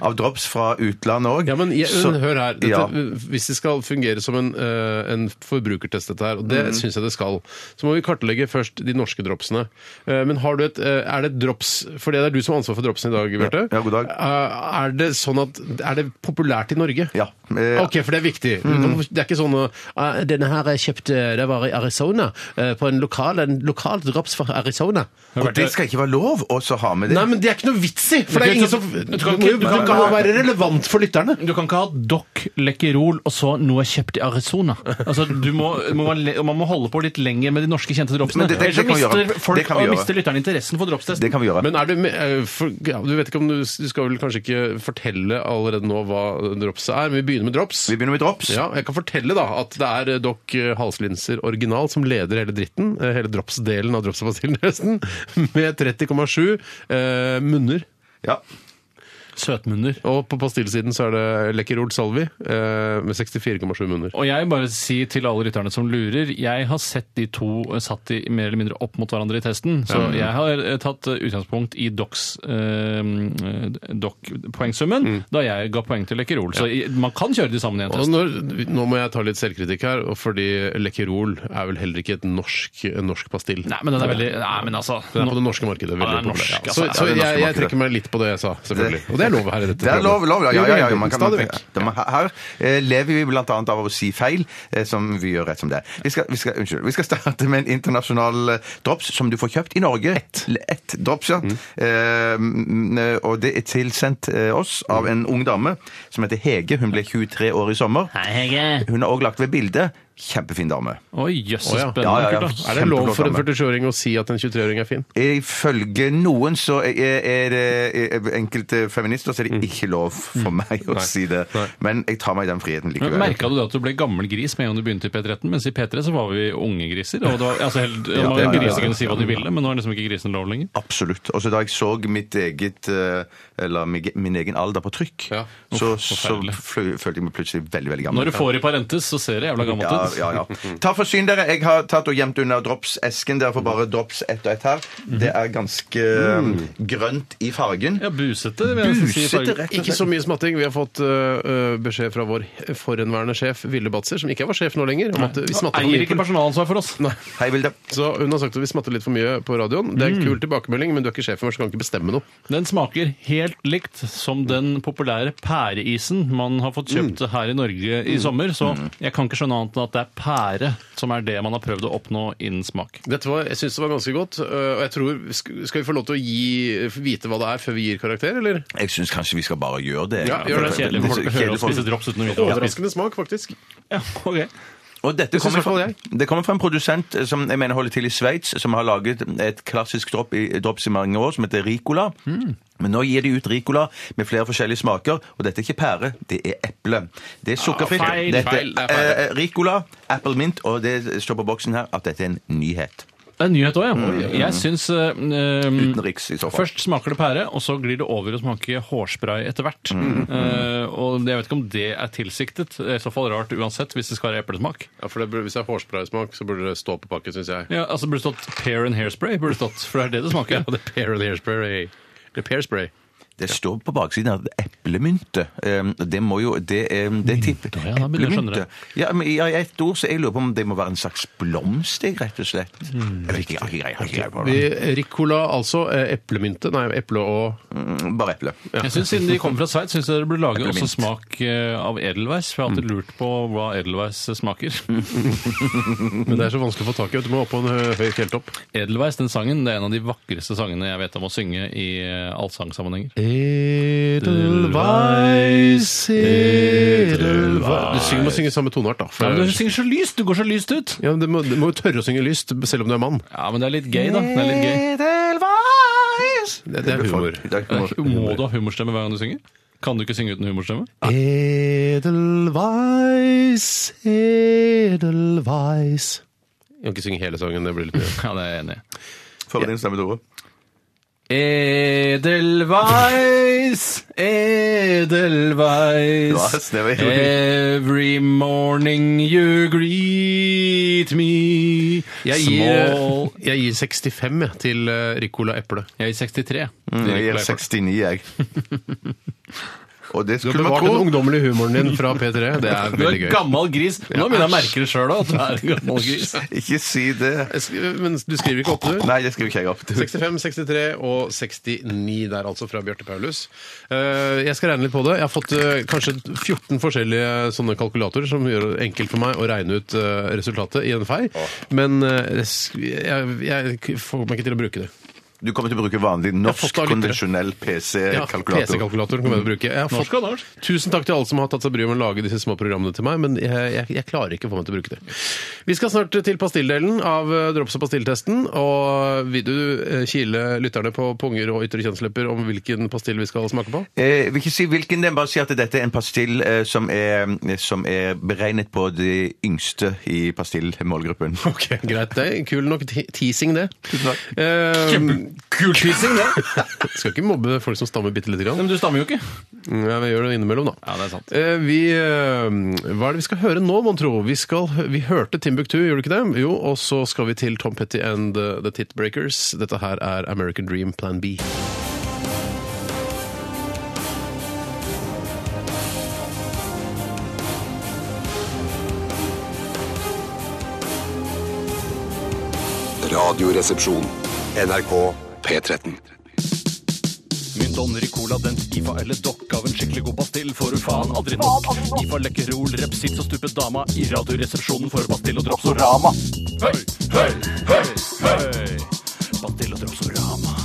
av drops fra utlandet òg. Ja, men jeg, Så- hør her. Dette, Ja. Hvis det skal fungere som en, eh, en forbrukertest, dette her, og Mm. det synes syns jeg det skal, så må vi kartlegge først de norske dropsene. Eh, men har du et, eh, er det et drops For det er du som har ansvar for dropsene i dag, Bjarte. Ja, god dag. Eh, er det sånn at Er det populært i Norge? Ja. Eh, OK, for det er viktig. Det er ikke sånn eh, Denne her jeg kjøpte Det var i Arizona. eh, på en lokal, en lokal drops fra Arizona. Og det skal ikke være lov å så ha med det. Nei, men det er ikke noe vits i! For det er Men du ingen kan som ikke- Det du kan må jo ikke- du kan ikke det må være relevant for lytterne. Du kan ikke ha Doc Lekkerol og så noe jeg kjøpt i Arizona. Altså, du må, må man, le- man må holde på litt lenger med de norske kjente dropsene. Men det- det- Ellers det så kan vi gjøre. mister folk Det kan vi og gjøre. mister lytterne interessen for dropstesten. Det kan vi gjøre. Men er du, med- eh, for, ja, du vet ikke om du, du skal vel kanskje ikke fortelle allerede nå hva drops er, men vi begynner med drops. vi begynner med drops. Ja, jeg kan fortelle da at det er eh, Doc eh, Halslinser original som leder hele dritten, eh, hele drops-delen av drops og pastillen nesten, med 30,7 eh, munner. Ja. Søtmunner. Og på pastillsiden så er det Lekkerol Salvi eh, med 64,7 munner. Og jeg bare si til alle lytterne som lurer, jeg har sett de to eh, satt i, mer eller mindre opp mot hverandre i testen, så jeg har eh, tatt eh, utgangspunkt i Docs eh, doc poengsummen da jeg ga poeng til Lekkerol. Så i- man kan kjøre de sammen i en Og test. når, nå må jeg ta litt selvkritikk her, og fordi Lekkerol er vel heller ikke et norsk, en norsk pastill. Nei, men den er veldig Nei, men altså Den er på det norske markedet. veldig Ja, det er populær. norsk, altså. så Ja, så det er det jeg, norske jeg trekker meg litt på det jeg sa, selvfølgelig. Det- Og det er lov her i dette Det er lov, lov, ja. ja, ja, ja, man kan, Stadig vekk. Ja, men her- her eh, lever vi blant annet av å si feil, eh, som vi gjør rett som det er. Vi skal, vi skal, unnskyld, vi skal starte med en internasjonal eh, drops som du får kjøpt i Norge. Ett. Et drops, ja. Eh, mm, eh, og det er tilsendt eh, oss Mm. av en ung dame som heter Hege. Hun ble 23 år i sommer. Hei, Hege. Hun har òg lagt ved bilde. Kjempefin dame. Oi, jøss, så Å, ja. spennende. Ja, ja, ja. kult, da. Er det lov Kjempeflott for en dame. 47-åring å si at en 23-åring er fin? Ifølge noen så er, er det enkelte feminister så er Mm. det ikke lov for meg å si det. Men jeg tar meg den friheten likevel. Merka du da at du ble gammel gris med en gang du begynte i P13? Mens i P3 så var vi unge griser. Og det var, altså, helt, ja, ja, ja, ja. Griser kunne si hva de ville, men nå er liksom ikke grisene lov lenger. Absolutt. Og så da jeg så mitt eget eh, Eller mig- min egen alder på trykk, Ja. så, Uff, så forferdelig. flø- følte jeg meg plutselig veldig veldig gammel. Når du får i parentes, så ser det jævla gammelt ja, ut. ja, ja. Ta forsyn dere. Jeg har tatt og gjemt unna dropsesken. Dere får bare drops ett og ett her. Det er ganske eh, grønt i fargen. Mhm. Mm. Ja, busete. vil jeg nesten si i fargen. Busete, rett og Ikke slett. så mye smatting. Vi har fått øh, øh, beskjed fra vår forhenværende sjef, Ville Batzer, som ikke er vår sjef nå lenger, om at vi smatter for Eier mye. ikke på- personalansvar for oss. Hei, Vilde. Så hun har sagt at vi smatter litt for mye på radioen. Det er Mm. en kul tilbakemelding, men du er ikke sjefen vår, så kan ikke bestemme noe. Den smaker helt likt som den populære pæreisen man har fått kjøpt Mm. her i Norge i sommer, så jeg kan ikke skjønne annet enn at det er pære som er det man har prøvd å oppnå innen smak. Dette var, jeg syns det var ganske godt, øh, og jeg tror sk- Skal vi få lov til å gi, vite hva det er, før vi gir karakter, eller? Jeg syns kanskje vi skal bare gjøre det. Ja, gjør Det er kjedelig for folk å høre oss spise drops uten å vite hva de spiser. Overraskende smak, faktisk. Ja, ok. Og dette Det synes kommer, i hvert fall fra, det kommer fra en produsent eh, som jeg mener holder til i Sveits, som har laget et klassisk dropp i, drops i mange år, som heter Ricola. Hmm. Men nå gir de ut Ricola med flere forskjellige smaker, og dette er ikke pære, det er eple. Det er sukkerfritt. Ah, feil, dette, feil, det er feil. eh, Ricola, apple mint, og det står på boksen her at dette er en nyhet. Det er en nyhet òg, ja. Jeg syns eh, eh, Utenriks i så fall. Først smaker det pære, og så glir det over og smaker hårspray etter hvert. Eh, og jeg vet ikke om det er tilsiktet. Det er i så fall rart uansett, hvis det skal være eplesmak. Ja, for det, burde- Hvis det er hårspraysmak, så burde det stå på pakken, syns jeg. Ja, altså Burde det stått pear and hairspray, burde det stått, for det er det det smaker. Ja, det er pear and hairspray. Det er pear spray. Det står på baksiden av eplemynte. Um, Det må jo Det er det tipper ja, da begynner jeg å skjønne det. Ja, men i i ett ord, så jeg lurer på om det må være en slags blomst, jeg, rett og slett. Jeg vet ikke, jeg har ikke greie- jeg har ikke greie på det. Mm. Vi- Ricola, altså. eh, Eplemynte. Nei, eple og Mm, Bare eple. Jeg synes Siden de kommer fra Sveits, syns jeg det burde lage også Eplemitt. smak eh, av edelweiss. For jeg har alltid lurt på hva edelweiss smaker. Men det er så vanskelig å få tak i. vet Du Du må opp på en hø- høy fjelltopp. Edelweiss, den sangen, det er en av de vakreste sangene jeg vet om å synge i eh, allsangsammenhenger. Edelweiss, Edelweiss. Du synger, må synge samme toneart, da. For, Ja, men du ja, synger så lyst! Du går så lyst ut! men du, må, du må jo tørre å synge lyst, selv om du er mann. Ja, men det er litt gay, da. Det er litt gay. Edelweiss! Det, det er humor. Må du ha humorstemme hver gang du synger? Kan du ikke synge uten humorstemme? Edelweiss, Edelweiss Jeg kan ikke synge hele sangen. det blir litt mye. Ja, det er jeg enig i. Følg din stemme, Tore. Edelweiss, Yes, Edelweiss. det var helt fint. Every morning you greet me. Jeg gir, Small jeg gir 65 jeg, til eh, Ricola eple. Jeg gir 63. Mm, Jeg er 69, jeg. Og det Du har skulle man bevart den tro. ungdommelige humoren din fra P3. Det er Du er veldig en gøy. gammel gris. Nå begynner jeg å merke det sjøl òg, at du er en gammel gris. Ikke si det. Jeg skri- Men du skriver ikke opp, du? Nei, det skriver ikke jeg opp. 65, 63 og 69 der, altså, fra Bjarte Paulus. Eh, Jeg skal regne litt på det. Jeg har fått eh, kanskje 14 forskjellige sånne kalkulatorer som gjør det enkelt for meg å regne ut eh, resultatet i en fei, men eh, jeg sk- jeg, jeg får meg ikke til å bruke det. Du kommer til å bruke vanlig fått norsk det av lyttere. konvensjonell Eh, Ja, PC-kalkulator. PC-kalkulatoren kommer jeg til å bruke. Jeg har Norsk fått, og norsk. tusen takk til alle som har tatt seg bryet med å lage disse små programmene til meg, men jeg, jeg, jeg klarer ikke å få meg til å bruke det. Vi skal snart til pastilldelen av eh, drops- og pastilltesten, og vil du eh, kile lytterne på punger og ytre kjønnslepper om hvilken pastill vi skal smake på? Jeg vil ikke Eh, si hvilken, den bare si at dette er en pastill eh, som er, som er beregnet på de yngste i pastillmålgruppen. Ok, Greit, det er kul nok te- teasing, det. Tusen takk. kul teasing, det! skal ikke mobbe folk som stammer bitte lite grann. Men du stammer jo ikke. Mm, Ja, vi gjør det innimellom, da. Ja, det er sant. Eh, vi, eh, hva er det vi skal høre nå, mon tro? Vi, skal, hø- vi hørte Timbuktu, gjorde du ikke det? Jo, og så skal vi til Tom Petty and The, the Tit Breakers. Dette her er American Dream Plan B. Radioresepsjon. NRK P13. Mynt og Ricola, den IFA eller dokk av en skikkelig god pastill får du faen aldri nok. IFA Lekkerol, repsits og stupet dama i Radioresepsjonen for Pastill og Dropsorama. Høy, høy, høy, høy! Pastill og Dropsorama.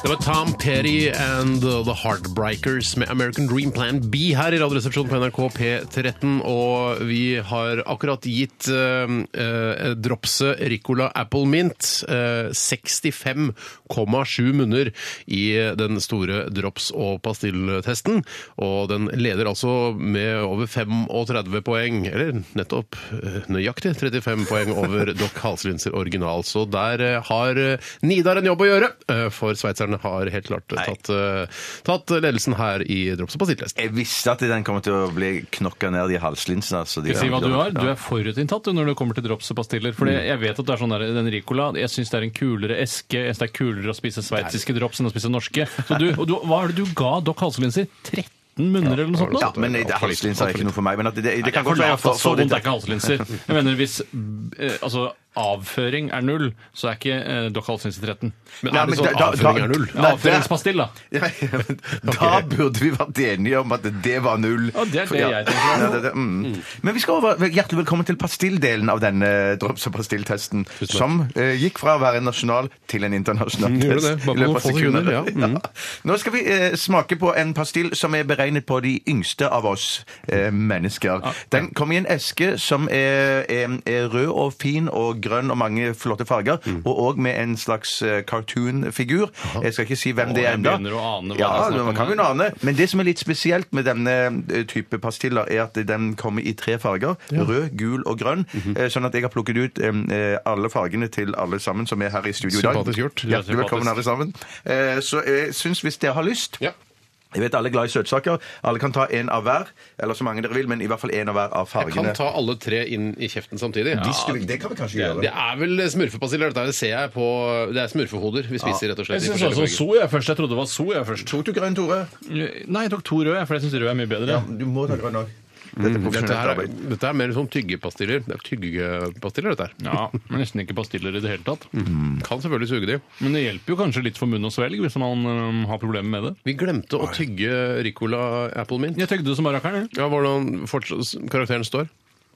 Det var Tom Petty and uh, The Heartbreakers med American Dream Plan B her i Radioresepsjonen på NRK P13. Og vi har akkurat gitt uh, uh, dropset Ricola Apple Mint eh, 65,7 munner i den store drops- og pastilltesten. Og den leder altså med over 35 poeng, eller nettopp eh, nøyaktig 35 poeng over Doc Halslinser original. Så der eh, har eh, Nidar en jobb å gjøre, eh, for sveitserne har helt klart eh, tatt, eh, tatt ledelsen her i drops- og pastilltesten. Jeg visste at den kommer til å bli knokka ned i halslinsene. Altså, de Skal jeg si hva du har? Du er forutinntatt du, når det kommer til drops og pastiller. For Mm. jeg vet at det er sånn der, den Ricola Jeg syns det er en kulere eske. Jeg synes det er kulere å spise sveitsiske drops enn å spise norske. Så du, og du, hva er det du ga Doc Halselinser? 13 munner eller noe sånt? Ja, Nå? men det, halslinser er ikke noe for meg. Men at det, det, Nei, kan jeg godt være forlater for, så for vondt er ikke halslinser. Jeg mener hvis eh, altså, avføring er null, så er ikke eh, Dokkhalsnisse 13. Men er Nei, det men sånn da- da- da- avføring er null? Nei, det- Avføringspastill, da. Ja, men Da burde vi vært enige om at det var null. Ja, det er det For- jeg tenker. Ja, det- det- mm. Men vi skal over, hjertelig velkommen til pastilldelen av denne drops- og pastilltesten, som eh, gikk fra å være en nasjonal til en internasjonal Mm, gjorde test. det, bare på i løpet noen av få sekunder, ja. Mm. Mm-hmm. Nå skal vi eh, smake på en pastill som er beregnet på de yngste av oss eh, mennesker. Den kommer i en eske som er, er, er rød og fin og grønn og mange flotte farger, Mm. og òg med en slags eh, cartoon-figur. Jeg skal ikke si hvem Å, det er jeg ennå. begynner å ane hva ja, det er snakk om man kan her. jo ane. Men det som er litt spesielt med denne eh, type pastiller, er at den kommer i tre farger. Rød, gul og grønn. Mm-hmm. eh, Sånn at jeg har plukket ut eh, alle fargene til alle sammen som er her i studio i dag. Sympatisk gjort. Du er Hjertelig velkommen, alle sammen. Eh, Så jeg syns, hvis dere har lyst Jeg vet alle er glad i søtsaker. Alle kan ta en av hver, eller så mange dere vil, men i hvert fall en av hver av Jeg kan fargene. ta alle tre inn i kjeften samtidig. De skulle- det kan vi kanskje Det gjøre. er vel smurfepastiller, dette her. Det ser jeg på Det er smurfehoder vi spiser, rett og slett. Jeg i synes forskjellige også so farger. jeg først. Jeg trodde det var so jeg først. Tok du grønn, Tore? Eh, Nei, jeg tok to røde, for jeg syns rød er mye bedre. Du må ta grønn òg. Dette er Mm. Dette, profesjonelt her er, arbeid. dette er mer som tyggepastiller. Det er tyggepastiller, dette her. Ja, men Nesten ikke pastiller i det hele tatt. Kan selvfølgelig suge de. Men det hjelper jo kanskje litt for munn og svelg hvis man øhm, har problemer med det. Vi glemte å tygge Ricola Apple Mint. Jeg tygde det som barrakkeren. jeg. Ja, hvordan forts- karakteren står?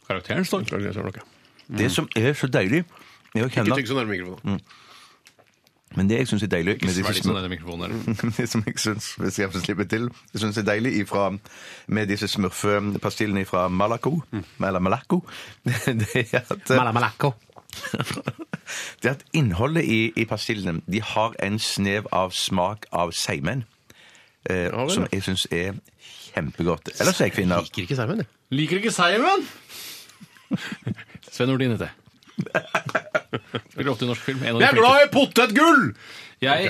Karakteren står. Det som er så deilig er å Ikke kjenne tygg så nærme mikrofonen. Men det jeg syns er deilig med disse Svelg liksom små- sånn ned i mikrofonen der. det som jeg syns hvis jeg får slippe til, jeg synes er deilig ifra, med disse smurfepastillene fra Malaco, eller Malaco, det er at eh, det er at innholdet i, i pastillene de har en snev av smak av seigmenn. Eh, vel, som ja. jeg syns er kjempegodt. Ellers er jeg kvinne. Liker ikke Simon, jeg. Liker ikke Simon? Sven Nordin heter jeg. Spiller ofte i norsk film. En av de flinkeste. i potetgull! Jeg,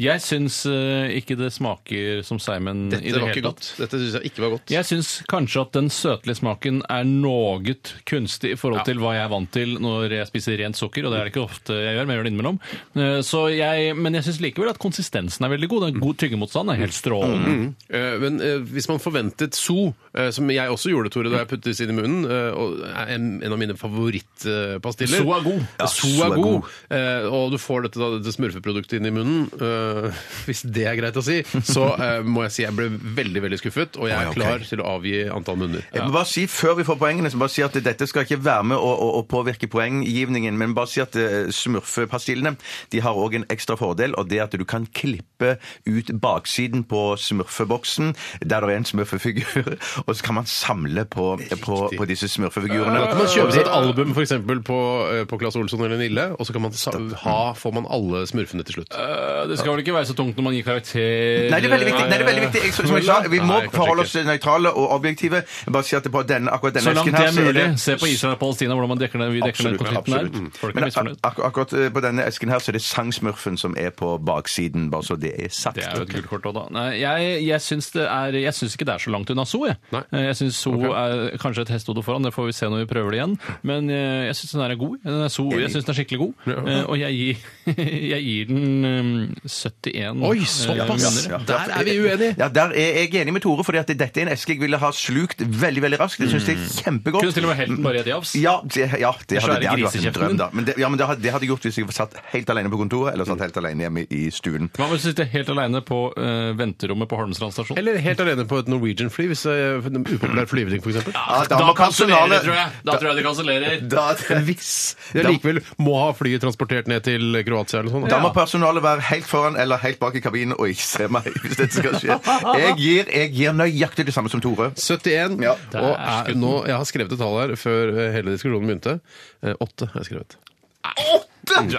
jeg syns eh, ikke det smaker som Simon i Dette det var hele ikke tatt. godt. Dette syns jeg ikke var godt. Jeg syns kanskje at den søtlige smaken er noe kunstig i forhold til hva jeg er vant til når jeg spiser rent sukker, og det er det ikke ofte jeg gjør, men jeg gjør det innimellom. Eh, Så jeg, men jeg syns likevel at konsistensen er veldig god. Den god tyggemotstand er helt strålende. Mm. Eh, Men eh, hvis man forventet so, eh, som jeg også gjorde, Tore, da jeg puttet disse inn i munnen, eh, og er en, en av mine favorittpastiller So er god. Ja, so er god. Eh, og du får dette, da, dette smurfeproduktet inn i munnen, eh, hvis det er greit å si, så eh, må jeg si jeg ble veldig, veldig skuffet, og jeg Oi, er ok. klar til å avgi antall munner. Jeg må bare si, Før vi får poengene, så må jeg bare si at dette skal ikke være med å, å, å påvirke poenggivningen, men bare si at eh, smurfepastillene de har òg en ekstra fordel, og det er at du kan klippe ut baksiden på smurfeboksen, der det er en smurfefigur, og så kan man samle på, på, på disse smurfefigurene. Da kan man kjøpe seg et album for eksempel, på, eh, på Claes Olsson eller Nille, og så kan man sa ha, får man alle smurfene til slutt. Eh, Det skal vel ikke være så tungt når man gir karakter Nei, det er veldig viktig. Nei, det er veldig viktig. Jeg, som jeg sa, vi må Nei, kanskje forholde oss nøytrale og objektive. Jeg bare si at det på denne, akkurat denne Så langt esken det her er så mulig. det- Se på Israel og Palestina, hvordan man dekker den, vi dekker den Absolutt, konflikten der. absolutt. Folk Men er ak misfornøyd. ak akkurat eh, på denne esken her så er det sangsmurfen som er på baksiden, bare så det er sagt. Det er jo et gult kort òg, da. Nei, jeg, jeg, syns det er, jeg syns ikke det er så langt unna So. Jeg, Nei. jeg syns So er kanskje et hestehode foran, det får vi se når vi prøver det igjen. Men eh, jeg syns den her er god. Den er so, jeg syns den er skikkelig god. Eh, Og jeg gir, jeg gir den eh, 71 Oi, eh, såpass! vinnere. Der er vi uenige! Ja, der er jeg enig med Tore, fordi at dette er en eske jeg ville ha slukt veldig, veldig raskt. Jeg synes det er kjempegodt. Mm. Kunne til og med helt den bare i et jafs. Ja, det, ja, det hadde, Svære det hadde vært en grisekjeften drøm, din. da. Men det, ja, men det hadde, det hadde jeg gjort hvis jeg satt helt alene på kontoret, eller satt helt alene hjemme i stuen. Hva med å sitte helt aleine på eh, venterommet på Holmstrand stasjon? Eller helt alene på et Norwegian-fly, hvis det er en upopulær flyvning, f.eks. Ah, Ja, da må personalet- Da tror jeg de kansellerer. Da, Hvis jeg likevel må ha flyet transportert ned til Kroatia eller noe sånt. da må personalet være helt foran eller helt bak i kabinen og ikke se meg hvis dette skal skje. Jeg gir, jeg gir nøyaktig det samme som Tore. 71. Ja. Og er, nå, jeg har skrevet et tall her før eh, hele diskusjonen begynte. Eh, Åtte har jeg skrevet. Åtte!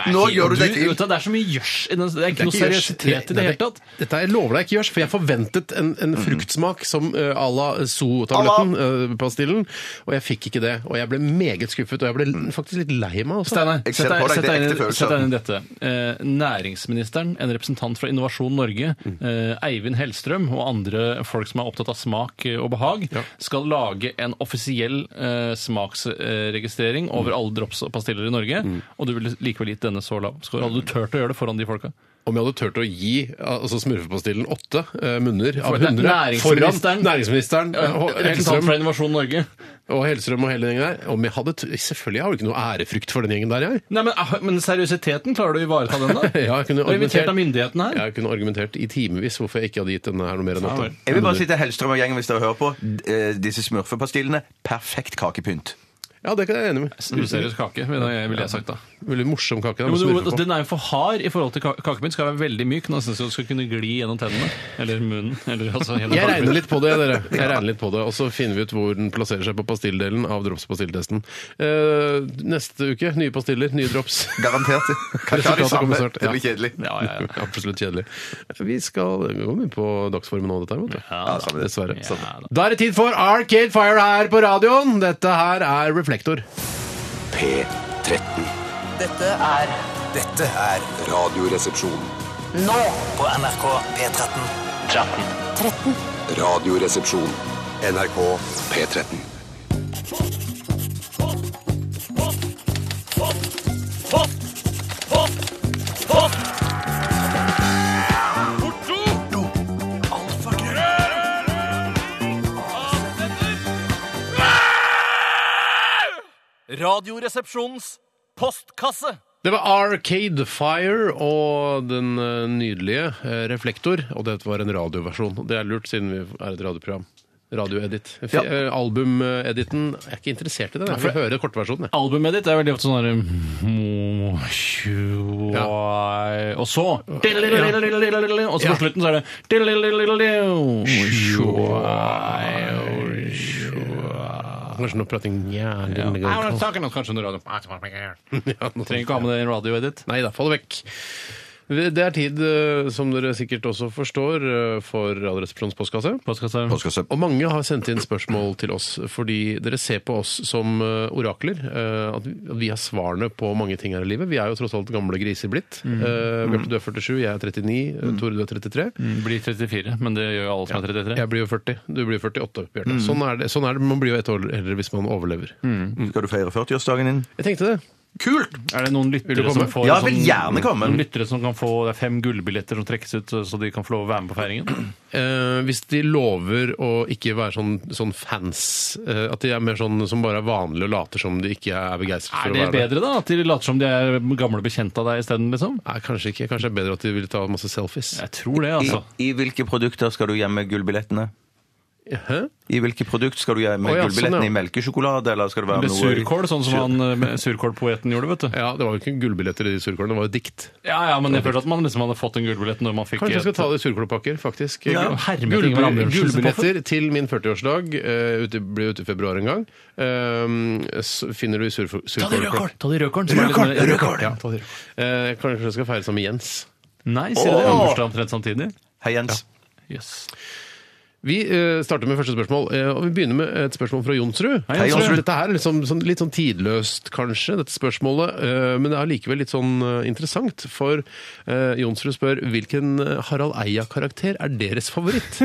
Nå gjør du deg til. vet du, Det er så mye gjørs i den. Det er ikke noe Ikke gjørs. seriøsitet i Nei, det hele tatt. Dette jeg lover deg ikke gjørs, for jeg forventet en, en fruktsmak som eh, à la so-tabletten, eh, pastillen, og jeg fikk ikke det. Og jeg ble meget skuffet, og jeg ble l- faktisk litt lei meg. Også. Steinar, Jeg ser sett deg, på deg, sett det er deg, inn, ekte i- følelser. sett deg inn i dette. Eh, næringsministeren, en representant fra Innovasjon Norge, eh, Eivind Hellstrøm og andre folk som er opptatt av smak eh, og behag, skal lage en Mm. offisiell eh, smaksregistrering over alle drops og pastiller i Norge. Og du ville like likevel gitt denne så lav score? Hadde du turt å gjøre det foran de folka? Om jeg hadde turt å gi altså smurfepastillen åtte eh, munner av For det er hundre næringsministeren. foran næringsministeren Eh, og Representant Hellstrøm, fra Innovasjon Norge. og Hellstrøm og hele den gjengen der om jeg hadde, t- Selvfølgelig jeg har jo ikke noe ærefrykt for den gjengen der, jeg. Nei, men, ah, men seriøsiteten, klarer du å ivareta den, da? Ja, jeg kunne og invitert argumentert- av myndighetene her? Jeg kunne argumentert i timevis hvorfor jeg ikke hadde gitt denne her noe mer enn åtte. Jeg vil bare si til Hellstrøm og gjengen hvis dere hører på, d- eh, disse smurfepastillene, perfekt kakepynt. Ja, det kan jeg være enig med. Useriøs kake, ville jeg, ville jeg sagt da. Veldig morsom kake. Da, Jo, men med du, altså, smurfe på. den er jo for hard i forhold til ka- kakepynt. Skal være veldig myk, nesten så du skal kunne gli gjennom tennene. Eller munnen. Eller altså hele Jeg kakepynt. regner litt på det, dere. Jeg regner litt på det, Og så finner vi ut hvor den plasserer seg på pastilldelen av dropspastilltesten. Eh, neste uke nye pastiller, nye drops. Garantert. Kanskje ha de Resultatet samme. kommer snart, Det ja. blir kjedelig. Ja, ja, ja. Absolutt kjedelig. Vi skal vi går mye på dagsformen nå, dette her, vet du. Ja, da. samme det. Dessverre. Ja, da. Da er det tid for Arcade Fire her på radioen. Dette her er Reflektor. P13. Dette er Dette er Radioresepsjon. nå på NRK P13. 13. Radioresepsjon. NRK P13. Radioresepsjonens postkasse. Det var Arcade Fire og den eh, nydelige eh, Reflektor. Og dette var en radioversjon. Og Det er lurt, siden vi er et radioprogram. Radioedit. F- Ja. eh, Albumediten Jeg er ikke interessert i den. Jeg vil høre kortversjonen. jeg. Albumet ditt er veldig ofte sånn her mm, tjo, Og så Og så på slutten så er det Kanskje noe prating jævlig I'm not talking, kanskje under radio. Trenger ikke ha med det i en radioedit. Nei da, få det vekk. Det er tid, eh, som dere sikkert også forstår, eh, for Radioresepsjonens postkasse. Postkasse. Postkasse. Og mange har sendt inn spørsmål til oss, fordi dere ser på oss som eh, orakler. eh, At vi- at vi har svarene på mange ting her i livet. Vi er jo tross alt gamle griser blitt. Mm. Eh, Bjarte, du er 47, jeg er 39, eh, Tore, du er 33. Blir 34, men Mm. det Mm. gjør jo alle som er 33. Jeg blir jo 40, du blir 48, Bjarte. Sånn, er det. sånn er det. Man blir jo ett år eldre hvis man overlever. Mm. Skal du feire 40-årsdagen din? Jeg tenkte det. Mm. Kult! Er det noen Vil du lyttere komme? som får Ja, en jeg vil gjerne komme. noen lyttere som kan få Det er fem gullbilletter som trekkes ut, så de kan få lov å være med på feiringen? Eh, hvis de lover å ikke være sånn, sånn fans, eh, at de er mer sånn som bare er vanlige og later som de ikke er begeistret for Er å det være der. bedre, da? At de later som de er gamle bekjente av deg isteden, liksom? Nei, kanskje ikke. Kanskje det er bedre at de vil ta masse selfies. Jeg tror det, I, altså. I hvilke produkter skal du gjemme gullbillettene? Hæ? I hvilke produkt skal du gjemme Å, ja, gullbillettene? sånn, I ja. melkesjokolade, eller skal det være Med noe surkål, sånn som han eh, surkålpoeten gjorde, vet du. Ja, det var jo ikke gullbilletter i de surkålene, det var jo dikt. Ja, ja, men jeg følte at man liksom hadde fått en gullbillett når man fikk Kanskje jeg skal ta det i surkålpakker, faktisk. Ja, Gull- hermet gullbill- Ingvar Ambjørnsen som Gullbilletter til min 40-årsdag eh, ute- blir ute i februar en gang. Eh, så finner du i sur- surkålpakker. Ta det rødkål! sånn- Rødkål! rødkål. Ja. Eh, kanskje jeg skal feire sammen med Jens. Nei, sier det. Åh! Bursdag omtrent samtidig. Hei, Jens. Yes. Vi eh, starter med første spørsmål, eh, og vi begynner med et spørsmål fra Jonsrud. Hei, Jonsrud. Dette her er liksom, sånn, litt sånn tidløst, kanskje, dette spørsmålet, eh, men det er likevel litt sånn eh, interessant, for eh, Jonsrud spør hvilken eh, Harald Eia-karakter er deres favoritt?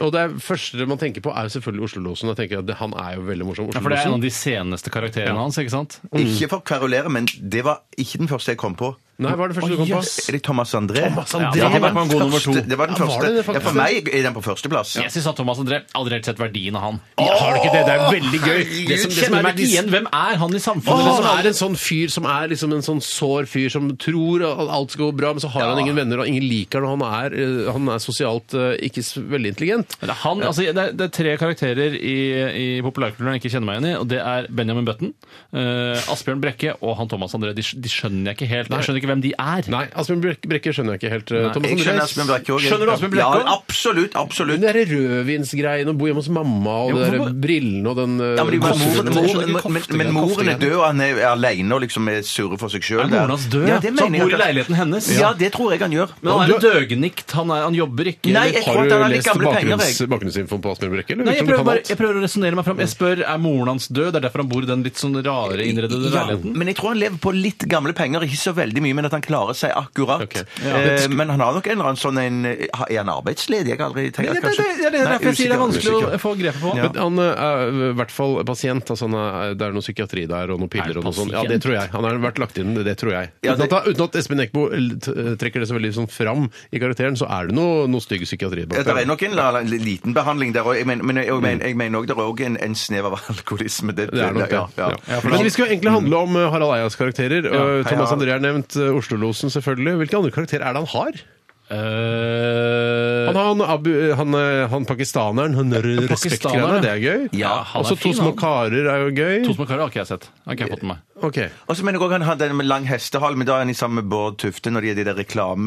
og det er, første man tenker på er jo selvfølgelig Oslo-losen. Jeg tenker at det, han er jo veldig morsom, Ja, for det er en av Oslo-losen. de seneste karakterene hans, ikke sant? Mm. Ikke for å kverulere, men det var ikke den første jeg kom på. Nei, hva er det første du kom på? Er det Thomas André? Thomas Ja, André. det Ja, hadde det, var vært en den god nummer to. første, det var den Ja, var første. det ja, det for faktisk? meg er den på førsteplass. Jeg syns Thomas André aldri helt sett verdien av han. har ikke det, det er veldig gøy. Det som, det som er litt igjen, Hvem er han i samfunnet? Åh, liksom? han er en sånn fyr som er liksom en sånn sår fyr som tror at alt skal gå bra, men så har han ingen venner, og ingen liker han, og han er, eh, han er sosialt eh, ikke s- veldig intelligent. Men det, er han, altså, det, er, det er tre karakterer i, i populærkulturen jeg ikke kjenner meg igjen i. og Det er Benjamin Button, eh, Asbjørn Brekke og han Thomas André. De, skj- de skjønner jeg ikke helt. Jeg skjønner ikke hvem de er. Nei, Asbjørn Brek- Brekke skjønner jeg ikke helt. eh, Thomas Jeg skjønner Andreas. Asbjørn Brekke òg. Skjønner du Asbjørn Brekke også? Ja, absolutt. absolutt. Den derre rødvinsgreien, å bo hjemme hos mamma, og Ja, de hvorfor- der brillene og den eh, Ja, men, de var, koften- moren, jeg skjønner ikke moren, men, koftegreiene. men moren er Koftegreiene. død, og han er aleine og liksom er surre for seg sjøl. Er moren hans død? Ja, det Så mener han jeg bor i at- leiligheten hennes? Ja, det tror jeg han gjør. Men han er en døgnikt. Han, er, han jobber ikke. Nei, jeg tror Har at han du har litt lest gamle penger, bakgrunns, jeg. bakgrunnsinfoen på Asbjørn Brekke? eller Nei, jeg prøver, virker som han kan bare, alt? jeg prøver å resonnere meg fram. Jeg spør er moren hans død. Det er derfor han bor i den litt sånn rare innredede Ja, leiligheten. men jeg tror han lever på litt gamle penger, ikke så veldig mye mye, men at han klarer seg akkurat. Ok. Eh, men han har nok en eller annen sånn en Er han arbeidsledig? Jeg har aldri tenkt Nei, det- det- det er det- Nei, derfor jeg sier det er usikker, vanskelig å usikker. få grepet på. Ja. Men han eh, er i hvert fall pasient. Altså han er, det er noe psykiatri der og noe Er piller han og noe sånt. Ja, det tror jeg. Han har vært lagt inn, det tror jeg. Ja, Uten det- at, uten at Espen Eckbo l- t- trekker det så veldig sånn fram i karakteren, så er det noe, noe stygg psykiatri Ja, bak det er det. nok en la- la- liten behandling der òg, men, men jeg, jeg, mener- jeg mener òg det er også en, en snev av alkoholisme. Det, Det er sånn- nok det. ja, ja. Ja. Men vi skal jo egentlig handle om eh, Harald Eias karakterer. og hei, Thomas Harald. André er nevnt. eh, Oslo-losen, selvfølgelig. Hvilke andre karakterer er det han har? Eh, Han, har han, Abu, han, eh, han pakistaneren, han r- respektgreiene, det er gøy. Ja, han er Også fin, to han. små karer er jo to gøy. små karer har ikke jeg sett. Har ikke jeg fått med meg. Ok. Og så mener jeg òg han har den med lang hestehale, men da er han i sammen med Bård Tufte når de er de der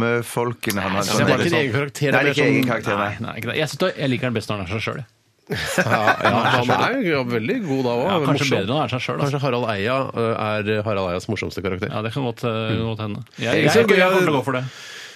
reklamefolkene. Han har, så det er ikke en egen karakter, Nei, det er det er ikke sånn- egen karakter, nei. Nei, ikke det. Jeg, synes da- jeg liker den best når han er seg sjøl. Ja, ja, han er jo veldig god da òg. Ja, kanskje bedre når han er seg sjøl. Kanskje Harald Eia eh, er Harald Eias morsomste karakter. Ja, det kan godt, eh, godt hende. Jeg, Mm. Jeg jeg, synes jeg, det er gøy- kommer til å gå for det.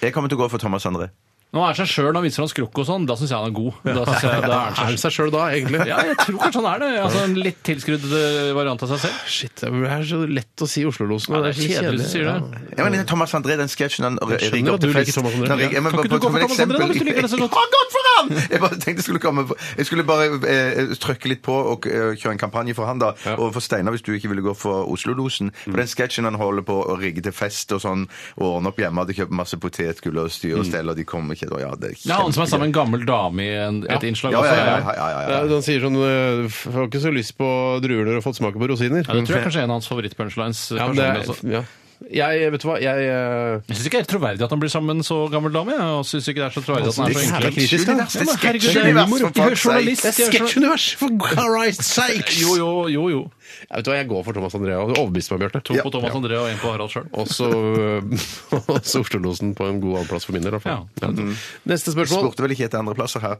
Jeg kommer til å gå for Thomas André. Når han er seg sjøl og viser han skrukk og sånn, da syns jeg han er god. Da synes jeg, da er han Er seg det selv. seg sjøl da, egentlig? Ja, jeg tror kanskje han er det. Altså, en litt tilskrudd eh, variant av seg selv. Shit, det er så lett å si Oslo-losen. Ja, og det er så kjedelig hvis du sier det. Ja. Ja, men Thomas André, den sketsjen han skjønner rigger at opp du til liker fest Thomas André. Han rigger- jeg Kan ikke må bare- du bare gå for et Thomas André da, eksempel. hvis du liker det så godt? Jeg har gått for han! Jeg bare tenkte jeg skulle komme på- Jeg skulle bare eh, trykke litt på og eh, kjøre en kampanje for han da, overfor Steinar, hvis du ikke ville gå for Oslo-losen. For Mm. den sketsjen han holder på å rigge til fest og sånn, og ordne opp hjemme, hadde kjøpt masse potetgull og styr og stell, og de kommer ikke da. Ja, det er Mm. Det er han som er sammen kjempegøy. med en gammel dame i en, et innslag. Ja, også. ja, ja, ja, ja, ja, Ja, ja. han sier sånn eh, f- 'Får ikke så lyst på druer når du har fått smake på rosiner'. Ja, det tror jeg kanskje er en av hans favorittpunchlines. Ja, personlig men det er, også. ja. Jeg, vet du hva, jeg eh, Jeg syns ikke det er troverdig at han blir sammen med en så gammel dame. jeg, Og synes ikke det er så troverdig at han er så jævla enkel. kritisk, da. Det Herregud, det er er sketsjunivers, humor. Jeg for er fuck's sake. journalist. Det er jeg er journalist. sketsjunivers, for Christ's sakes! Jo, jo, jo. jo. Jeg vet du hva, jeg går for Thomas Andrea. Du overbeviste meg, Bjarte. To på Thomas André og en på Harald sjøl. Også, eh, også Oslo-losen på en god annenplass for min del. i hvert fall. Ja. Mm. Neste spørsmål. Spurte vel ikke etter andreplasser her.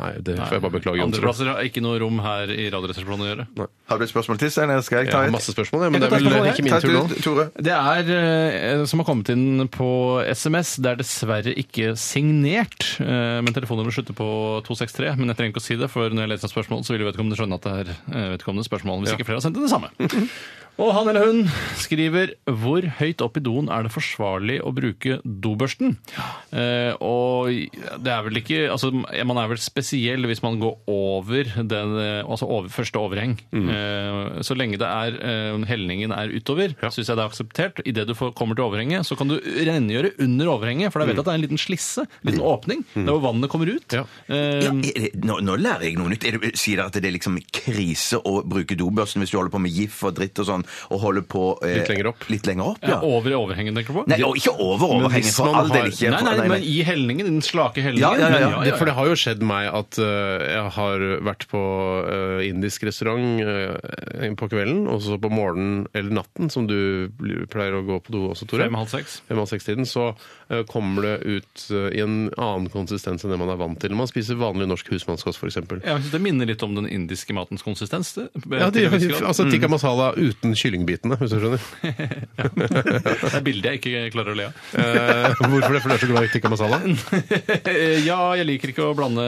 Nei, det får jeg bare beklage. Jon, tror jeg. Andreplasser har ikke noe rom her i Radioresepsjonen å gjøre. Har du et spørsmål til, Steinar? Skal jeg Jeg ta har et? masse spørsmål, ja, men det Jeg er kan ta vel spørsmål, ikke Ta min et tur nå. du, Tore. Det er eh, som har kommet inn på SMS. Det er dessverre ikke signert, eh, men telefonnummeret slutter på 263. Men jeg trenger ikke å si det, for når jeg leser et spørsmål, så vil vedkommende skjønne at det er eh, vedkommende spørsmål, hvis ikke flere har sendt inn det samme. Og han eller hun skriver Hvor høyt opp i doen er det forsvarlig å bruke dobørsten? Eh, og det er vel ikke altså, Man er vel spesiell hvis man går over den eh, altså over, første overheng. Mm. Eh, så lenge det er eh, helningen er utover, synes syns jeg det er akseptert. Idet du får, kommer til overhenget, så kan du rengjøre under overhenget, for da vet jeg at det er en liten slisse, en liten åpning, der hvor vannet kommer ut. Ja. Eh, Mm. Ja, er det, nå, nå lærer jeg noe nytt. Er det, sier dere at det er liksom krise å bruke dobørsten hvis du holder på med GIF og dritt og sånn, og holder på eh, Litt lenger opp. Litt lenger opp, ja. ja. Over i overhenget, tenker du på? Nei, og ikke over overhenget, hvis for man all del har- ikke. nei, for- nei, men i helningen, i den slake helningen. Ja, ja, ja, ja. Men Det- For det har jo skjedd meg at eh, jeg har vært på eh, indisk restaurant eh, på kvelden, og så på morgenen eller natten, som du pleier å gå på do også, Tore. Fem, halv seks. Fem, halv seks-tiden, så eh, kommer det ut eh, i en annen konsistens enn det man er vant til når man spiser vanlig norsk husmannskost, f.eks. Jeg synes Det minner litt om den indiske matens konsistens. Det, Ja, de, til en viss grad. Mm. altså tikka masala uten kyllingbitene, hvis du skjønner. det er bildet jeg ikke klarer å le av. Eh, hvorfor det? For du er så glad i tikka masala? Eh, Ja, jeg liker ikke å blande,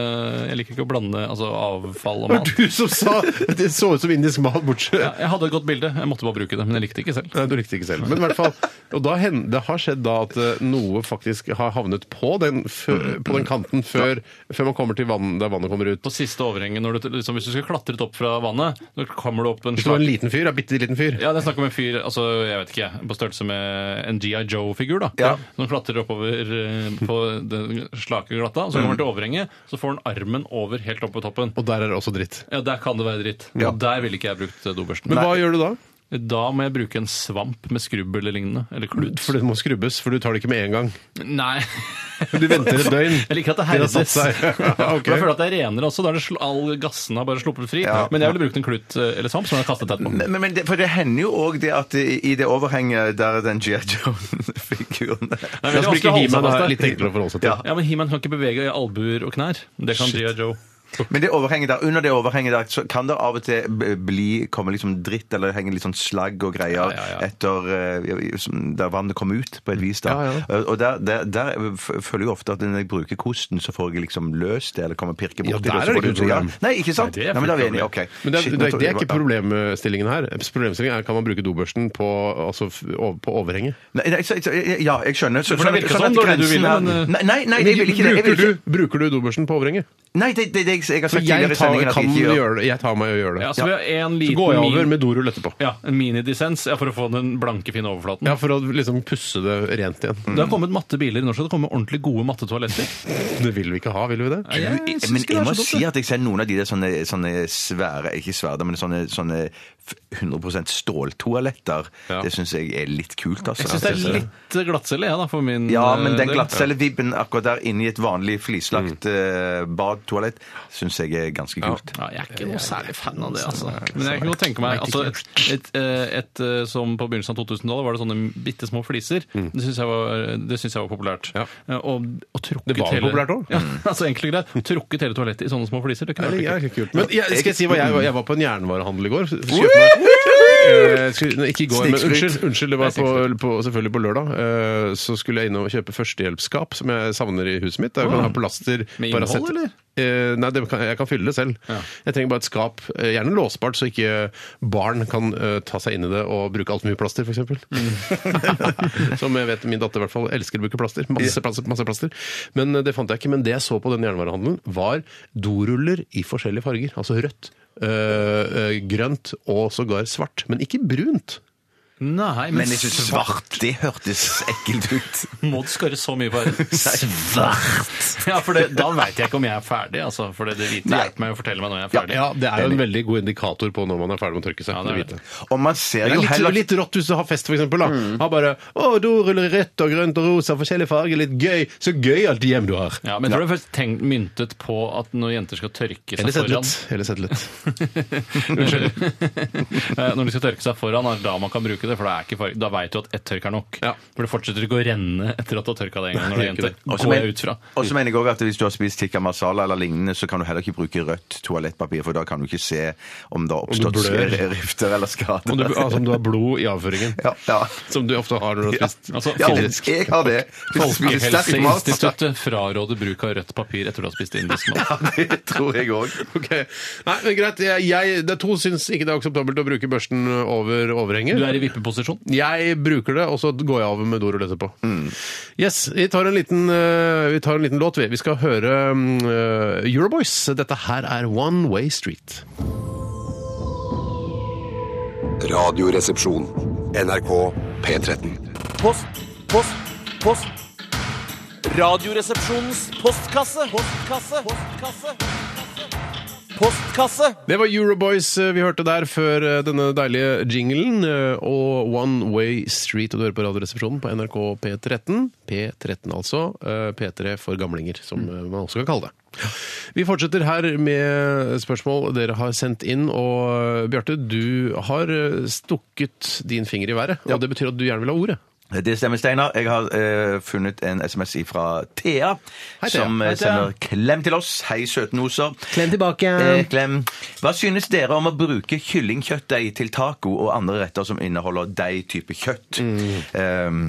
jeg liker ikke å blande altså, avfall og Det var mat. du som sa det så ut som indisk mat, bortsett Ja, jeg hadde et godt bilde, jeg måtte bare bruke det, men jeg likte det ikke selv. Nei, du likte ikke selv. Men i hvert fall, og da hen, Det har skjedd da at eh, noe faktisk har havnet på den, fø- på den kanten før, før man kommer til vann, der vannet kommer ut. På siste overhenget, når du, liksom, hvis du skal klatre litt opp fra vannet, så kommer du opp en Hvis det var en slag... liten fyr, ja, bitte liten fyr. Ja, det er snakk om en fyr altså, jeg vet ikke, på størrelse med en GI Joe-figur. da. Ja. Som klatrer oppover eh, på den slake glatta, og så Mm. kommer han til overhenget, så får han armen over helt opp på toppen. Og der er det også dritt. Ja, Der kan det være dritt. Og Der ville ikke jeg brukt eh, dobørsten. Men hva gjør du da? Da må jeg bruke en svamp med skrubb eller lignende. Eller klut. For det må skrubbes, for du tar det ikke med en gang. Nei. Du venter et døgn. Jeg liker at det Til herdes. det har satt seg. Ok. For Jeg føler at det er renere også. Da er det sl all gassen har bare sluppet fri. Men jeg ville brukt en klut eh, eller svamp som jeg har kastet etterpå. Men, men det, for det hender jo òg det at i i det overhenget der den G.I. Joan-figuren Nei, men det Jeg er skal vanskelig å ikke holde gi meg seg det fast er der. litt enklere å forholde seg til. Ja, men He-Man kan ikke bevege albuer og knær. Det kan G.I. Joe. Men det overhenget der, under det overhenget der så kan det av og til b- bli, komme liksom dritt eller henge litt sånn slagg og greier Ja, ja, ja. etter eh, som- der vannet kom ut, på et vis. da. Ja, Eh, Og der, der, der f- føler jeg ofte at når jeg bruker kosten, så får jeg liksom løst det, eller kommer og pirker borti Ja, det. og der så er det får ikke noe ja. problem. Nei, ikke sant? Nei, Nei, det er men da er vi fullt enige. Ok. Men det, Shit, nå er- det, er- tror det jeg- er ikke ja. problemstillingen her. Problemstillingen er kan man bruke dobørsten på, altså, f- over- på overhenget. Nei, nei, så, så, ja, jeg skjønner. Så, For det virker at- at sånn, det var det du grensen ville, er- men, eh, Nei, nei, nei jeg vil ikke det. Jeg vil bruker, ikke. du, bruker du dobbeltsen på overhenget? Nei, det, det, det jeg har For sagt tidligere jeg i tar, sendingen at kan jeg ikke gjør. gjøre det. Jeg tar meg i å gjøre det. Ja, så vi har en Så liten går jeg over min- med dorull etterpå. ja, en minidissens ja, for å få den blanke, fine overflaten. Ja, for å liksom pusse det rent igjen. Det har kommet matte biler i Norge, og det kommer ordentlig gode mattetoaletter. Det vil vi ikke ha, vil vi det? Jeg synes Men ikke det jeg er må så dumt, si det. at jeg ser noen av de der sånne, sånne svære, ikke svære, men sånne, sånne f- 100 ståltoaletter. Ja. Det syns jeg er litt kult, altså. Jeg syns det er litt eh, glattcelle, jeg, da, for min eh, Ja, men den del. glattcellevibben akkurat der inne i et vanlig flislagt eh, badtoalett syns jeg er ganske kult. Mm. Ja, jeg er ikke noe særlig fan av det, altså. Men jeg kunne godt tenke meg altså, et, et, eh, et, eh, Som på begynnelsen av 2000-tallet var det sånne bitte små fliser. Det syns jeg, var- det synes jeg var populært. Mm. Ja. Eh, Og, og trukket Det var hele- populært også. Ja, altså enkelt og greit. Trukket hele toalettet i sånne små fliser. Det kunne vært litt kult. Men jeg, skal jeg si hva jeg var? Jeg var på en jernvarehandel i går. Kjøpte meg- Eh, skulle- nei, ikke i går, men unnskyld. unnskyld det var på, på, selvfølgelig på lørdag. Eh, Så skulle jeg inn og kjøpe førstehjelpsskap, som jeg savner i huset mitt. Der kan jeg ha plaster. Med innhold, Paracet. eller? Eh, nei, det kan, jeg kan fylle det selv. Jeg trenger bare et skap. eh, Gjerne låsbart, så ikke barn kan eh, ta seg inn i det og bruke altfor mye plaster, f.eks. som jeg vet min datter i hvert fall elsker å bruke plaster. Masse, plaster. masse plaster. Men eh, det fant jeg ikke. Men det jeg så på den jernvarehandelen, var doruller i forskjellige farger. Altså rødt, eh, eh, grønt og sågar svart. Men ikke brunt. Nei, men, Men jeg syns svart, det hørtes ekkelt ut. Må du skarre så mye på det? Svart! Ja, for det, da veit jeg ikke om jeg er ferdig, altså. For det, det hvite Nei. hjelper meg å fortelle meg når jeg er ferdig. Ja, Det er jo en veldig god indikator på når man er ferdig med å tørke seg. Ja, det er det det. hvite. Og man ser Det er Mm. jo litt, heller litt rått hvis du har fest, for eksempel. Da. Ha bare å, doruller i rødt og grønt og rosa, forskjellige farger, litt gøy. Så gøy alt hjem du har. Ja, men jeg tror det er først tenkt myntet på at når jenter skal tørke seg Eller sett foran litt. Eller sett litt. Eh, Når de skal tørke seg foran, er det da man kan bruke det. For da, er ikke farg, da vet du at ett tørk er nok. Ja. For det fortsetter ikke å renne etter at du har tørka det en gang. når du er Nei, det gjør jente. Og ikke så Går men- jeg ut fra. Og så mener jeg også at hvis du har spist tikka masala eller lignende, så kan du heller ikke bruke rødt toalettpapir, for da kan du ikke se om det har oppstått blør. rifter eller skader. Om du, altså, om du har blod i avføringen. ja, ja. Som du ofte har når du har spist. Altså, ja, Folke- jeg har det. Hvis du spiser sterk mat, Folkehelseinstituttet frarår bruk av rødt papir etter du har spist indisk mat. det tror jeg òg. Ok. Nei, men greit. Jeg, jeg, det er to syns ikke det er akseptabelt å bruke børsten over overhenger. Du er i vippeposisjon. Jeg bruker det, og så går jeg av med dorull etterpå. Yes, vi tar, en liten, eh, vi tar en liten låt, vi. Vi skal høre mm, eh, Euroboys. Dette her er One Way Street. Radioresepsjon. NRK P13. Post, post, post. Radioresepsjonens postkasse. Postkasse. Postkasse. Postkasse. Det var Euroboys eh, vi hørte der før eh, denne deilige jinglen. eh, Og One Way Street, og du hører på Radioresepsjonen på NRK P13. P13 altså. eh, P3 for gamlinger, som eh, man også kan kalle det. Vi fortsetter her med spørsmål dere har sendt inn. Og eh, Bjarte, du har eh, stukket din finger i været. Og det betyr at du gjerne vil ha ordet. Det stemmer, Steinar. Jeg har eh, funnet en SMS fra Thea, som eh, sender klem til oss. Hei, søtnoser. Klem tilbake. Eh, klem. Hva synes dere om å bruke kyllingkjøttdeig til taco og andre retter som inneholder deig-type kjøtt? Mm. Eh,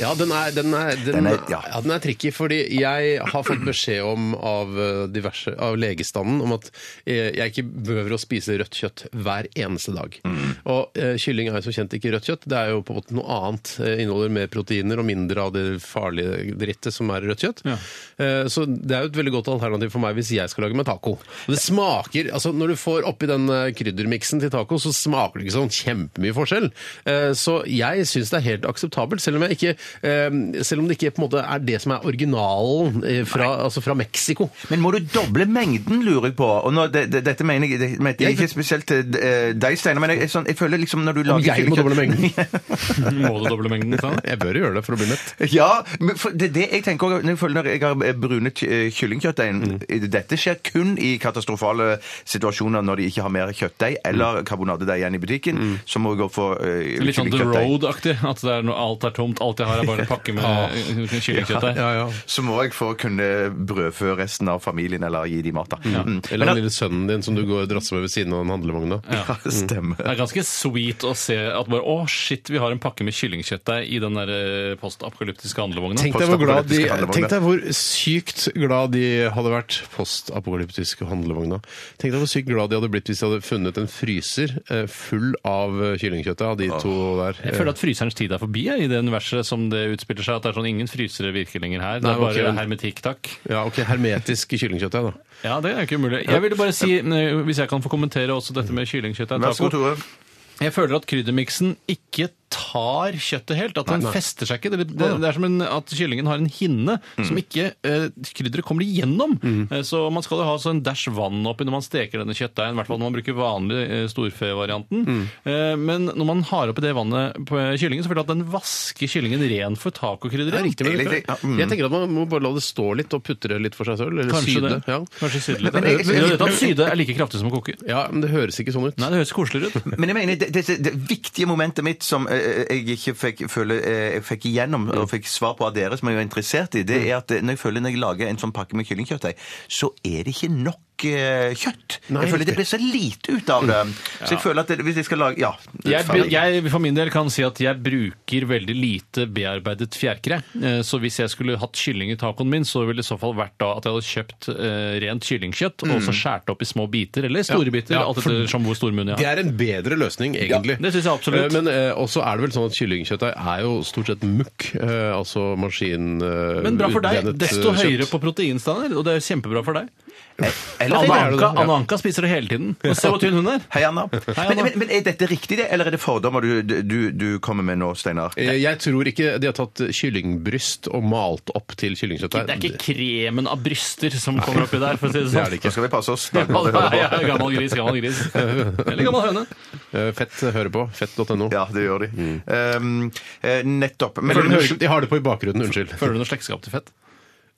Ja, den er, den er, den, Den er- ja. ja. den er tricky, fordi jeg har fått beskjed om av, eh, diverse, av legestanden om at eh, jeg ikke behøver å spise rødt kjøtt hver eneste dag. Mm. Og eh, kylling er jo som kjent ikke rødt kjøtt, det er jo på en måte noe annet. Eh, inneholder mer proteiner og mindre av det farlige drittet som er rødt kjøtt. Eh, så det er jo et veldig godt alternativ for meg hvis jeg skal lage meg taco. Og det smaker, altså når du får oppi den eh, kryddermiksen til taco, så smaker det ikke sånn kjempemye forskjell. Eh, Så jeg syns det er helt akseptabelt, selv om, jeg ikke, eh, selv om det ikke på en måte er det som er originalen eh, fra, altså fra Mexico. Men må du doble mengden, lurer jeg på? Og nå, det, det, dette mener jeg, det, mener jeg ikke spesielt eh, til eh, deg, Steinar, men jeg, jeg, sånn, jeg føler liksom når du lager jeg må kyllingkjøtt- doble mengden. Må du doble mengden? Steinar? Jeg bør jo gjøre det for å bli mett. Ja, men for det, er det jeg tenker også, når jeg føler når jeg har brune ky- eh, kyllingkjøttdeig Mm. eh, Dette skjer kun i katastrofale situasjoner når de ikke har mer kjøttdeig eller karbonadedeig igjen i butikken. Så må vi gå for eh, Mm. Litt sånn The kyllingkjøttdeig. Road-aktig. At det er noe, alt er tomt, alt jeg har er bare en pakke med eh, kyllingkjøtt der. Ja, ja. Så må jeg få kunne brødfø resten av familien eller gi dem mat. da. Mm. Eller den lille sønnen din som du går og drasser med ved siden av en handlevogn. da. Ja, Mm. det stemmer. Det er ganske sweet å se at bare Å, shit, vi har en pakke med kyllingkjøttdeig i den der eh, postapokalyptiske handlevogna. Tenk deg, hvor glad de, Postapokalyptiske handlevogna. tenk deg hvor sykt glad de hadde vært, postapokalyptiske handlevogna. Tenk deg hvor sykt glad de hadde blitt hvis de hadde funnet en fryser eh, full av eh, kyllingkjøttet av de to der. Jeg føler at fryserens tid er forbi jeg, i det universet som det utspiller seg. At det er sånn ingen frysere virker lenger her. Det Nei, er bare ok, men- hermetikk, takk. Eh, Ja, ok, hermetisk kyllingkjøttdeig, da. Ja, det er ikke umulig. Jeg ville bare si, eh, hvis jeg kan få kommentere også dette med kyllingkjøttdeig Vær så god, taco Tore. Jeg føler at kryddermiksen ikke tar kjøttet helt. At den fester seg ikke. Det, det, det er som en, at kyllingen har en hinne som ikke eh, krydderet kommer igjennom. Eh, så man skal jo ha så en dæsj vann oppi når man steker denne kjøttdeigen. I hvert fall når man bruker vanlig eh, storfevarianten. Eh, men når man har oppi det vannet på eh, kyllingen, så føler jeg at den vasker kyllingen ren for tacokrydderet. men Egentlig, ja, mm. Jeg tenker at man må bare la det stå litt og putre litt for seg selv. Eller Kanskje syde. det. Ja. Kanskje syde litt. Men- men jeg- Men du vet at syde er like kraftig som å koke? ja, men det høres ikke sånn ut. Nei, det høres koseligere ut. Men jeg mener, det, det, det viktige momentet mitt som eh, jeg ikke fikk, føler, eh, jeg fikk igjennom Mm. og fikk svar på av dere som jeg er interessert i, det er at eh, når jeg føler når jeg lager en sånn pakke med kyllingkjøttdeig, så er det ikke nok eh, kjøtt. Nei, jeg føler det blir så lite ut av det. Så jeg føler at det, hvis jeg skal lage Ja. Mm. Jeg, ferdig. jeg for min del kan si at jeg bruker veldig lite bearbeidet fjærkre. Eh, Så hvis jeg skulle hatt kylling i tacoen min, så ville det i så fall vært da at jeg hadde kjøpt eh, rent kyllingkjøtt og så skåret opp i små biter, eller store biter, Mm. Ja, alt for- etter som hvor stor munn jeg Det har. er en bedre løsning, egentlig. det synes jeg absolutt. Eh, Men eh, også er det vel sånn at kyllingkjøttdeig er jo stort sett mukk. eh, Altså maskin... eh, Men bra for deg. utbrennet, Desto eh, høyere kjøtt. på proteinstandard, og det er jo kjempebra for deg. Eller- Anna det er det Anka, da, ja. Anna Anka spiser det hele tiden. Og se hvor tynn hun er! Hei, Anna. Anna. Men, men, men er dette riktig, det, eller er det fordommer du, du, du kommer med nå, Steinar? Eh, Jeg tror ikke de har tatt kyllingbryst og malt opp til kyllingkjøttdeig. Det er ikke kremen av bryster som kommer oppi der, for å si det Det er det sånn. ikke. Nå skal vi passe oss. Gammel, ja, gammel gris, gammel gris. Eller gammel høne. Eh, Fett hører på. Fett.no. Ja, det gjør de. Mm. Um, eh, nettopp. Men, Føler du hører- De har det på i bakgrunnen, unnskyld. Føler du noe slektskap til fett?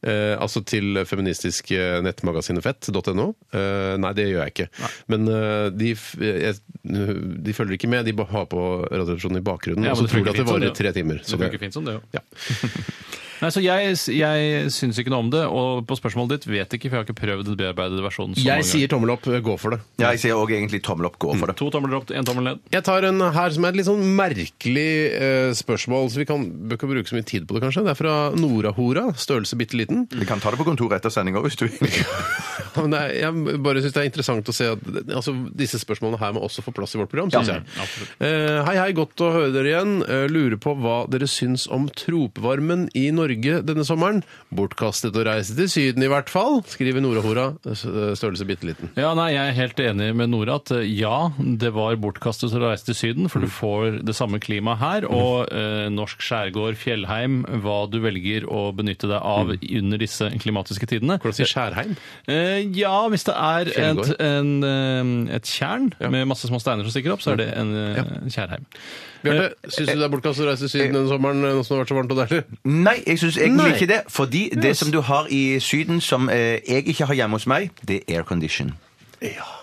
Eh, altså til feministisk eh, nettmagasinet fett.no. Eh, nei, det gjør jeg ikke. Men eh, de, f- jeg, de følger ikke med. De ba- har på Radioresepsjonen i bakgrunnen, Ja, og så men det tror de funker at det fint som varer det, tre timer. Så Så det funker det, fint som det, jo. ja. Nei, så jeg, jeg syns ikke noe om det, og på spørsmålet ditt vet ikke, for jeg har ikke prøvd den bearbeidede versjonen. så mange Jeg ganger. sier tommel opp, eh, gå for det. ja, jeg sier òg egentlig tommel opp, gå for det. To tomler opp, én tommel ned. Jeg tar en her som er et litt sånn merkelig eh, spørsmål, så vi kan, bør ikke bruke så mye tid på det, kanskje. Det er fra Norahora, størrelse bitte liten. Vi kan ta det på kontoret etter sendinga hvis du vil. Ja, men det er, jeg bare syns det er interessant å se at altså, disse spørsmålene her må også få plass i vårt program, syns jeg. Eh, hei, hei, godt å høre dere igjen. Eh, lurer på hva dere syns om tropvarmen i Norge denne sommeren. Bortkastet å reise til Syden i hvert fall, skriver Nora Hora, eh, størrelse bitte liten. Ja, nei, Jeg er helt enig med Nora at eh, ja, det var bortkastet å reise til Syden, for du får det samme klimaet her. Og eh, norsk skjærgård, fjellheim, hva du velger å benytte deg av under disse klimatiske tidene. Hvordan sier Skjærheim? Eh, ja, hvis det er et, Fjellgård. en, eh, et tjern med masse små steiner som stikker opp, så er det en eh, kjærheim. Bjarte, syns du det er bortkastet å reise til Syden denne sommeren eh, nå som det har vært så varmt og deilig? Nei, jeg syns egentlig Nei. ikke det. Fordi det som du har i Syden som eh, jeg ikke har hjemme hos meg, det er aircondition.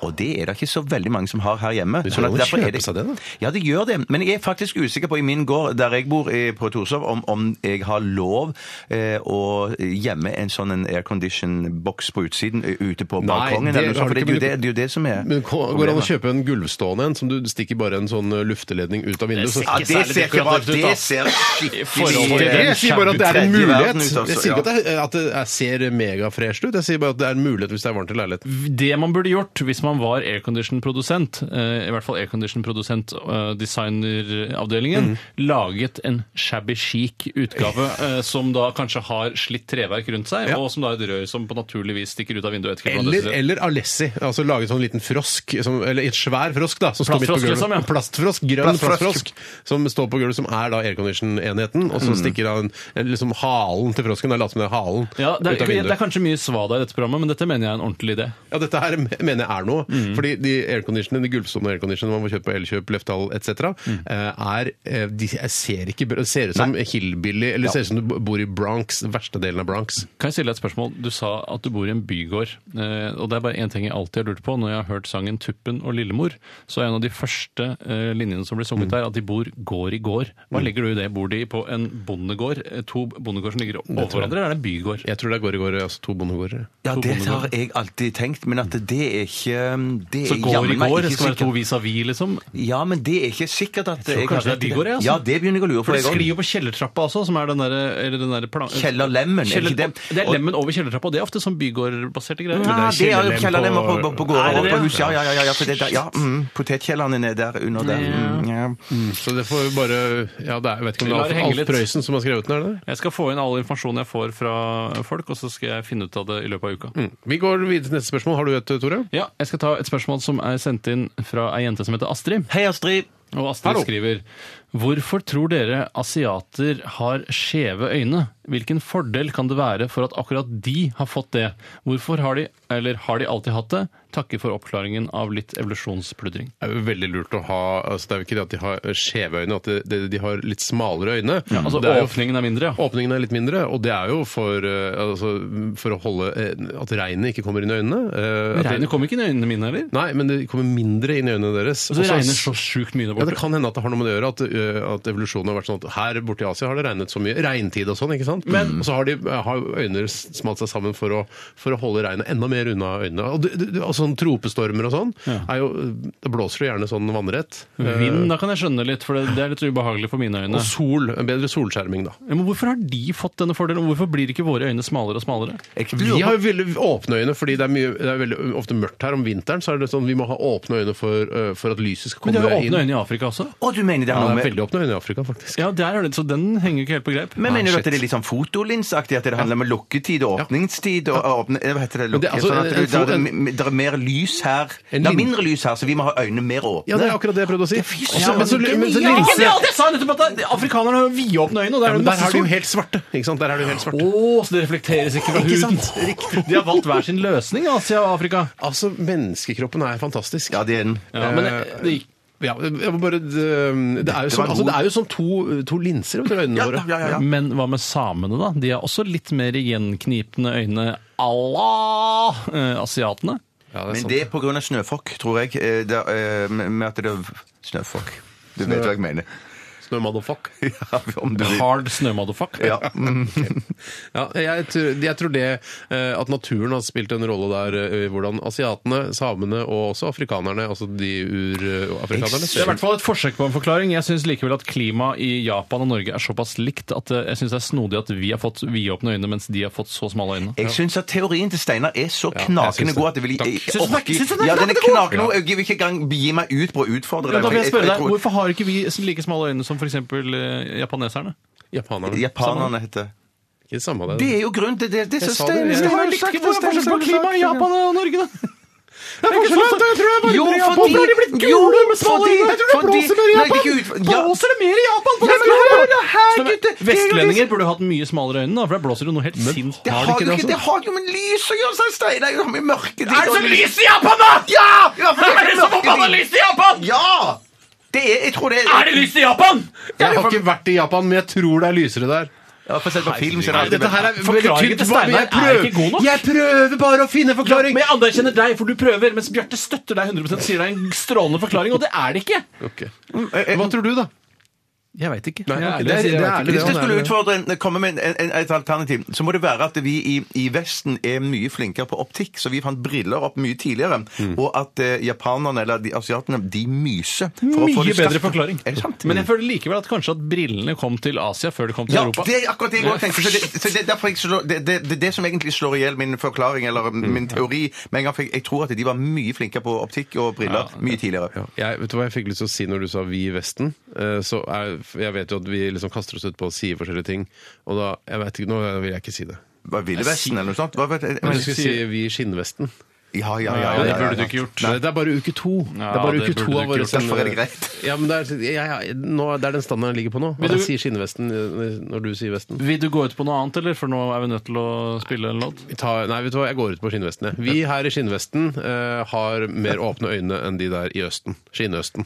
Og det er det ikke så veldig mange som har her hjemme. Sånn skal at alle derfor er kjøpe seg det, da. Ja, det gjør det. Men jeg er faktisk usikker på i min gård, der jeg bor eh, på Torshov, om, om jeg har lov eh, å gjemme en sånn en aircondition-boks på utsiden, eh, ute på Nei, balkongen. det eller noe har sånt, for du det, ikke, er jo men det, du- det er jo det som er Men ko- Går det an å kjøpe en gulvstående en som du stikker bare en sånn eh, lufteledning ut av vinduet? ser så- Ja, ikke det særlig ser ikke bra dekorativt ut. ut, da. Det ser forhold til skikkelig det. eh, Jeg sier bare at det er en tredje mulighet. verden ut, altså. Jeg sier Ja. ikke at det, at det er- ser megafresht ut, jeg sier bare at det er en mulighet hvis det er varmt i leiligheten. Det man burde gjort hvis man var aircondition-produsent, eh, i hvert fall aircondition-produsent eh, designeravdelingen, Mm. laget en shabby chic utgave eh, som da kanskje har slitt treverk rundt seg, og som da er et rør som på naturlig vis stikker ut av vinduet. Jeg vet ikke hvordan det Eller, ser ut. eller Alessi. Altså lage sånn liten frosk, som, eller et svær frosk, da. Som står midt på Plastfrosk, gulvet. liksom, ja. Plastfrosk, grønn Plastfrosk. plastfrosk, som står på gulvet, som er da aircondition-enheten. Og så stikker han en- liksom halen til frosken, da later som det er halen, ja, det, ut av er, det er vinduet. kanskje mye svada i dette programmet, men dette mener jeg er en ordentlig idé. Ja, dette her mener mener jeg er noe. Fordi de airconditionene, de gulvstående airconditionene man får kjøpt på Elkjøp, Løftdal etc., er eh, De jeg ser ikke bra- Ser ut som hillbilly, eller ser ut som du bor i Bronx, den verste delen av Bronx. Kan jeg stille deg et spørsmål? Du sa at du bor i en bygård. eh, Og det er bare én ting jeg alltid har lurt på når jeg har hørt sangen 'Tuppen og Lillemor'. Så er en av de første eh, linjene som blir sunget Mm. der, at de bor gård i gård. Hva legger du i det? Bor de på en bondegård? eh, To bondegård som ligger over hverandre, eller er det en bygård? Jeg tror det er gård i gård, altså to bondegårder. Ja, det har jeg alltid tenkt, men at det er ikke det Så er gård i jammen meg gård, ikke det skal være to sikkert. vis-à-vis, liksom. Ja, men det er ikke sikkert at tror jeg kanskje har- det er de går, jeg, altså. Ja, det begynner jeg å lure på, For det jeg sklir òg. jo på kjellertrappa også, som er den derre eller den der plan- Kjellerlemmen, er Kjeller- ikke det? det er lemmen over kjellertrappa, og det er ofte sånn bygårdbaserte greier. Ja, det er jo kjellerlem kjelleren på, på, på- på Er gården det og på det? huset. Ja, ja, ja, ja, for det der, ja mm, Potetkjelleren er nede der under der. Mm, ja. Så det får vi bare Ja, det er, jeg vet ikke om det Vi lar er det Alf, henge Alf litt. Prøysen som har skrevet den, er det det? Jeg skal få inn all informasjon jeg får fra folk, og så skal jeg finne ut av det i løpet av uka. Hm. Vi går videre til neste spørsmål. Har du et, Tore? Mm. Ja, Jeg skal ta et spørsmål som er sendt inn fra ei jente som heter Astrid. Hei, Astrid. Og Astrid Hallo. skriver Hvorfor tror dere asiater har skjeve øyne? Hvilken fordel kan det være for at akkurat de har fått det? Hvorfor har de, eller har de alltid hatt det? Takker for oppklaringen av litt evolusjonspludring. Det er jo veldig lurt å ha altså Det er jo ikke det at de har skjeve øyne, at det- det- de har litt smalere øyne. Altså det er jo, åpningen er mindre, ja. åpningen er litt mindre, og det er jo for, eh, altså, for å holde eh, at regnet ikke kommer inn i øynene. eh, at det- Regnet kom ikke inn i øynene mine heller. Nei, men det kommer mindre inn i øynene deres. Og så Også- regner så sjukt mye der Altså, Ja, Det borte. kan hende at det har noe med det å gjøre, at, ø, at evolusjonen har vært sånn at her borte i Asia har det regnet så mye. Regntid og sånn, ikke sant? og så har, de, har øynene smalt seg sammen for å, for å holde regnet enda mer unna øynene. Og, det- det- og sånn tropestormer og sånn, er jo, da blåser det gjerne sånn vannrett. Vind, da kan jeg skjønne litt, for det det er litt ubehagelig for mine Og øyne. sol, en bedre solskjerming da. Ja, Men hvorfor har de fått denne fordelen? Hvorfor blir ikke våre øyne smalere og smalere? Jeg Vi lurer har jo veldig åpne øyne, fordi det er, mye, det er veldig ofte mørkt her om vinteren, så er det sånn, vi må ha åpne øyne for, ø, for at lyset Men skal de komme har jo inn. åpne øyne i Afrika også. på- Å, du mener det har Ja, noe det er med veldig åpne øyne i Afrika, faktisk. Ja, der er det, så den henger jo ikke helt på greip. men Ah, mener du at shit. det er litt sånn fotolinseaktig? At det handler om lukketid og åpningstid? Og, og åpne, eh, hva heter det? Men Lukke, det er altså sånn en- en at det, fo- er, en- m- det er mer lys her. En Det er lin- mindre lys her, så vi må ha øynene mer åpne. Ja, det er akkurat det jeg prøvde å si. fy Også- men så- søren, men så genialt! linser- jeg sa nettopp at afrikanerne har vidåpne øyne, og Ja, men der har de jo helt svarte. ikke sant? Der er de jo helt svarte. altså, Å, så det reflekteres ikke fra huden. De har valgt hver sin løsning, Asia og Afrika. Altså, menneskekroppen er fantastisk. eh, Ja, det er den. Ja, men det gikk Ja, jeg må bare, det, det, er var jo som, en god- altså, det er jo som to, to linser under øynene Ja, våre. ja, ja, ja. Men hva med samene, da? De har også litt mer gjenknipende øyne Allah eh, asiatene. Men det er på grunn av snøfokk, tror jeg. eh, Det, er, eh, med at det er snøfokk. Du vet hva jeg mener. Snø, motherfuck. Ja, om du vil. Hard snømotherfuck. Ja. Ja, jeg, tror- jeg tror det eh, at naturen har spilt en rolle der, eh, i hvordan asiatene, samene og også afrikanerne, altså de eh, urafrikanerne Det er i hvert fall et forsøk på en forklaring. Jeg syns likevel at klimaet i Japan og Norge er såpass likt at eh, jeg synes det er snodig at vi har fått vidåpne øyne, mens de har fått så smale øyne. Jeg syns at teorien til Steinar er så jeg synes knakende det. god at jeg vil jeg, Syns jeg Takk. du den er- orker- syns du den er Ja, den er knakende god? knakende god. Jeg vil ikke engang gi meg ut på å utfordre Men da vil jeg spørre deg, tror- Hvorfor har ikke vi like smale øyne som f.eks. japaneserne? Japanerne. Japanerne heter Ikke det samme, det. Det er jo grunnen til det. det, det, Jeg sa det, Steinar- jeg- Steinar- har jo Steinar- Steinar- og Norge, da! Det er forskjell, altså. Jeg tror det er bare Jo, fordi- fordi- Hvorfor har de blitt jo, gule med smale fordi- øyne? Jeg tror det fordi- blåser mer i Nei, Japan. det er ikke ut- ja. Blåser det mer i Japan på Ja, men Vestlandet? hør, hør, her, Stopp, gutter! Det er jo Vestlendinger burde hatt mye smalere øyne, da, for der blåser det noe helt Det sinnssykt. har, ikke jo det ikke, det har jo med lys å gjøre, sa Steinar. Det har med mørketid Er å det så gjøre. lys i Japan, da?! Ja! ja for det er det så forbanna mørketid. lyst i Japan?! Ja! Det er, jeg tror det er Er det lyst i Japan?! Jeg har ikke vært i Japan, men jeg tror det er lysere der. Ja, for selv på film så er det Nei, alltid- dette her er Forklaringen veldig tynt. til Hva- Steinar jeg er prøver- ikke god nok. Jeg prøver bare å finne forklaring! jeg anerkjenner deg, for du prøver, mens Bjarte støtter deg 100 sier det er en strålende forklaring, og det er det ikke! Ok. Eh, Hva tror du, da? Jeg veit ikke. Nei, Jeg er ok, ærlig det er- og sier jeg det er vet ikke. ærlig. Hvis du han er skulle det. utfordre en, komme med en, en, et alternativ, så må det være at vi i, i Vesten er mye flinkere på optikk, så vi fant briller opp mye tidligere. Mm. Og at eh, japanerne, eller de asiatene, de myser. for å få Mye det bedre skarpt. forklaring. Er det sant? Men jeg føler likevel at kanskje at brillene kom til Asia før de kom til ja, Europa. det er akkurat det jeg òg tenkte. Så det, så det, er derfor jeg slår, det, det, det er det som egentlig slår i hjel min forklaring, eller Mm. min teori. Men jeg, fikk- jeg tror at de var mye flinkere på optikk og briller mye tidligere. Jeg, vet du hva jeg fikk lyst til å si når du sa 'vi i Vesten'? Eh, Så er, jeg vet jo at vi liksom kaster oss ut på å si forskjellige ting. Og da jeg vet ikke, Nå vil jeg ikke si det. Hva Ville Vesten eller noe sånt? Hva, vet jeg- Men jeg skulle si 'vi i skinnvesten'. Ja, ja, Ja, ja. ja, det ja, ja, burde du ja. ikke gjort. Nei, det er bare uke to. det er bare det burde uke to du av ikke våre gjort. Derfor er det greit. Ja, men det er, ja, ja, nå, det er den standarden jeg ligger på nå. Vil du- Jeg sier skinnvesten eh, når du sier vesten. Vil du gå ut på noe annet, eller? For nå er vi nødt til å spille en låt. Vi tar, nei, vet du hva, jeg går ut på skinnvesten. jeg. Vi her i skinnvesten eh, har mer åpne øyne enn de der i Østen. Skinnøsten.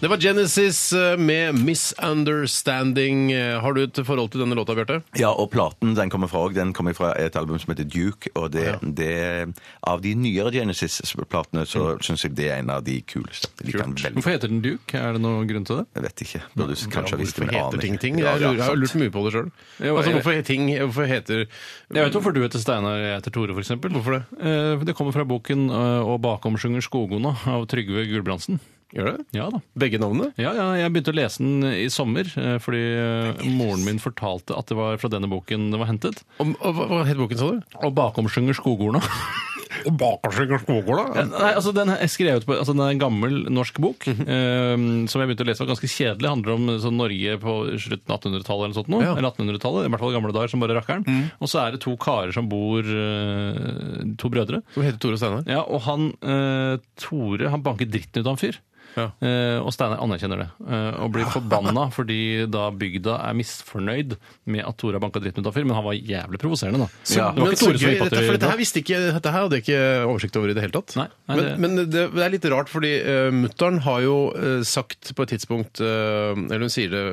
Det var Genesis eh, med 'Misunderstanding'. Eh, Har du et forhold til denne låta, Bjarte? Ja, og platen den kommer fra, også, den kommer fra et album som heter Duke, og det, det Av de nyere Genesis-platene så Mm. syns jeg det er en av de kuleste. De kan veldig, Hvorfor heter den Duke? Er det noen grunn til det? jeg vet ikke. Burde du kanskje ha visst det, Hvorfor men jeg heter aner ting ikke. ting? Ja, Jeg ja, lurer- jeg har sant. lurt mye på det sjøl. Jo, Altså, jeg- hvorfor heter ting Hvorfor heter Jeg vet hvorfor du heter Steinar og jeg heter Tore, f.eks. Hvorfor det? Det kommer fra boken eh, 'Og bakom synger skogona' av Trygve Gulbrandsen. Gjør det? Ja da. Begge navnene? Ja, ja, jeg begynte å lese den i sommer eh, fordi eh, moren min fortalte at det var fra denne boken det var hentet. Og, og, hva- hva het boken, sa du? Og bakom synger skogorna. Bakersynger skogåla? Nei, altså den er skrevet på altså den er en gammel norsk bok Mhm. eh, som jeg begynte å lese. var ganske kjedelig. handler om sånn Norge på slutten av 1800-tallet eller sånt noe. Ja. Mhm. Eller 1800-tallet, i hvert fall gamle dager som bare rakkeren. Og så er det to karer som bor eh, To brødre. Som heter Tore Steinar? Ja, og han eh, Tore han banker dritten ut av en fyr. Ja. Eh, og Steinar anerkjenner det, eh, og blir forbanna fordi da bygda er misfornøyd med at Tore har banka dritten ut av en fyr, men han var jævlig provoserende, da. Ja. det var Men ikke Tore så som gøy, gikk på dette, for dette her til visste ikke Dette her hadde jeg ikke oversikt over i det hele tatt. Nei, nei, men det- men det, det er litt rart, fordi uh, mutter'n har jo eh, sagt på et tidspunkt eh, Eller hun sier det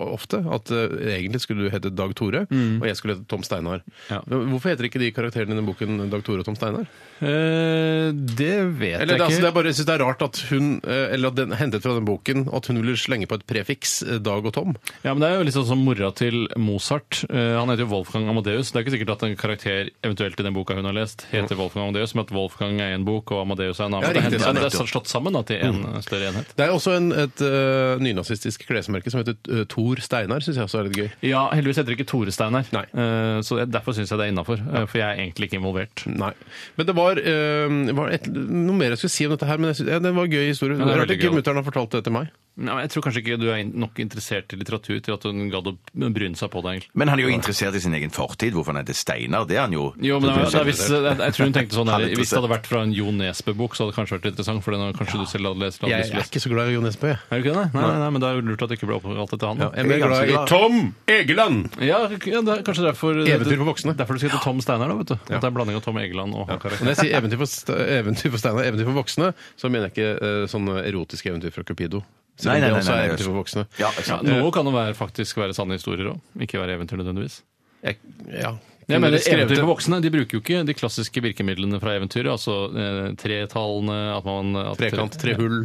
ofte, at eh, egentlig skulle du hete Dag Tore, og jeg skulle hete Tom Steinar. Mm. Ja. Men Hvorfor heter ikke de karakterene i denne boken Dag Tore og Tom Steinar? Eh, Det vet Eller, det, jeg altså, det ikke. er bare, jeg synes det er rart at hun, eh, eller at den hentet fra den boken, at hun ville slenge på et prefiks eh, Dag og Tom. Ja, men det er jo litt sånn som mora til Mozart. Eh, Han heter jo Wolfgang Amadeus. Det er ikke sikkert at en karakter eventuelt i den boka hun har lest, heter Wolfgang Amadeus, men at Wolfgang er en bok og Amadeus er en annen. Ja, det, riktig, Mm. er, sånn, det er slått sammen da, til en eh, større enhet. Det er også en, et eh, nynazistisk klesmerke som heter uh, Tor Steinar, syns jeg også er litt gøy. Ja, heldigvis heter det ikke Tore Steinar. Nei. Eh, Så jeg- derfor syns jeg det er innafor. eh, For jeg er egentlig ikke involvert. Nei. Men det var, eh, var et, noe mer jeg skulle si om dette her, men jeg synes, ja, det var en gøy historie. Ja, det er Rart veldig ikke gøy. mutter'n har fortalt det til meg. Nei, men jeg tror kanskje ikke du er in- nok interessert i litteratur til at hun gadd å bryne seg på det, egentlig. Men han er jo interessert i sin egen fortid. Hvorfor han heter Steinar, det er han jo. Jo, men det, er- det, er hvis, jeg, jeg tror hun tenkte sånn Han her, er Hvis det hadde vært fra en Jo Nesbø-bok, så hadde det kanskje vært interessant. For den har kanskje du selv hadde lest. Hadde lyst til Jeg å er lese. ikke så glad i Jo Nesbø, jeg. Er du ikke det? Nei, nei, nei, men det er jo lurt at det ikke ble oppkalt etter han. da. Jeg er Jeg mer er glad i ganske glad. Tom Egeland! Ja, ja, det er kanskje derfor Eventyr for voksne. Derfor du skal hete Tom Steinar, da, vet du. At det er en blanding av Tom Egeland og han Når karakteren. jeg sier eventyr for, st- eventyr for Steinar, eventyr for voksne, så mener jeg ikke eh, sånne erotiske eventyr fra Cupido. Selv Nei, om nei, det nei, også nei, er nei, eventyr for voksne. Ja, sant. Ja, noe kan jo være, faktisk være sanne historier òg, ikke være eventyr nødvendigvis. Jeg, ja. Jeg Kunne mener, dere skrevet eventyr det? for voksne de bruker jo ikke de klassiske virkemidlene fra eventyret. Altså eh, tretallene at man at Trekant, tre hull.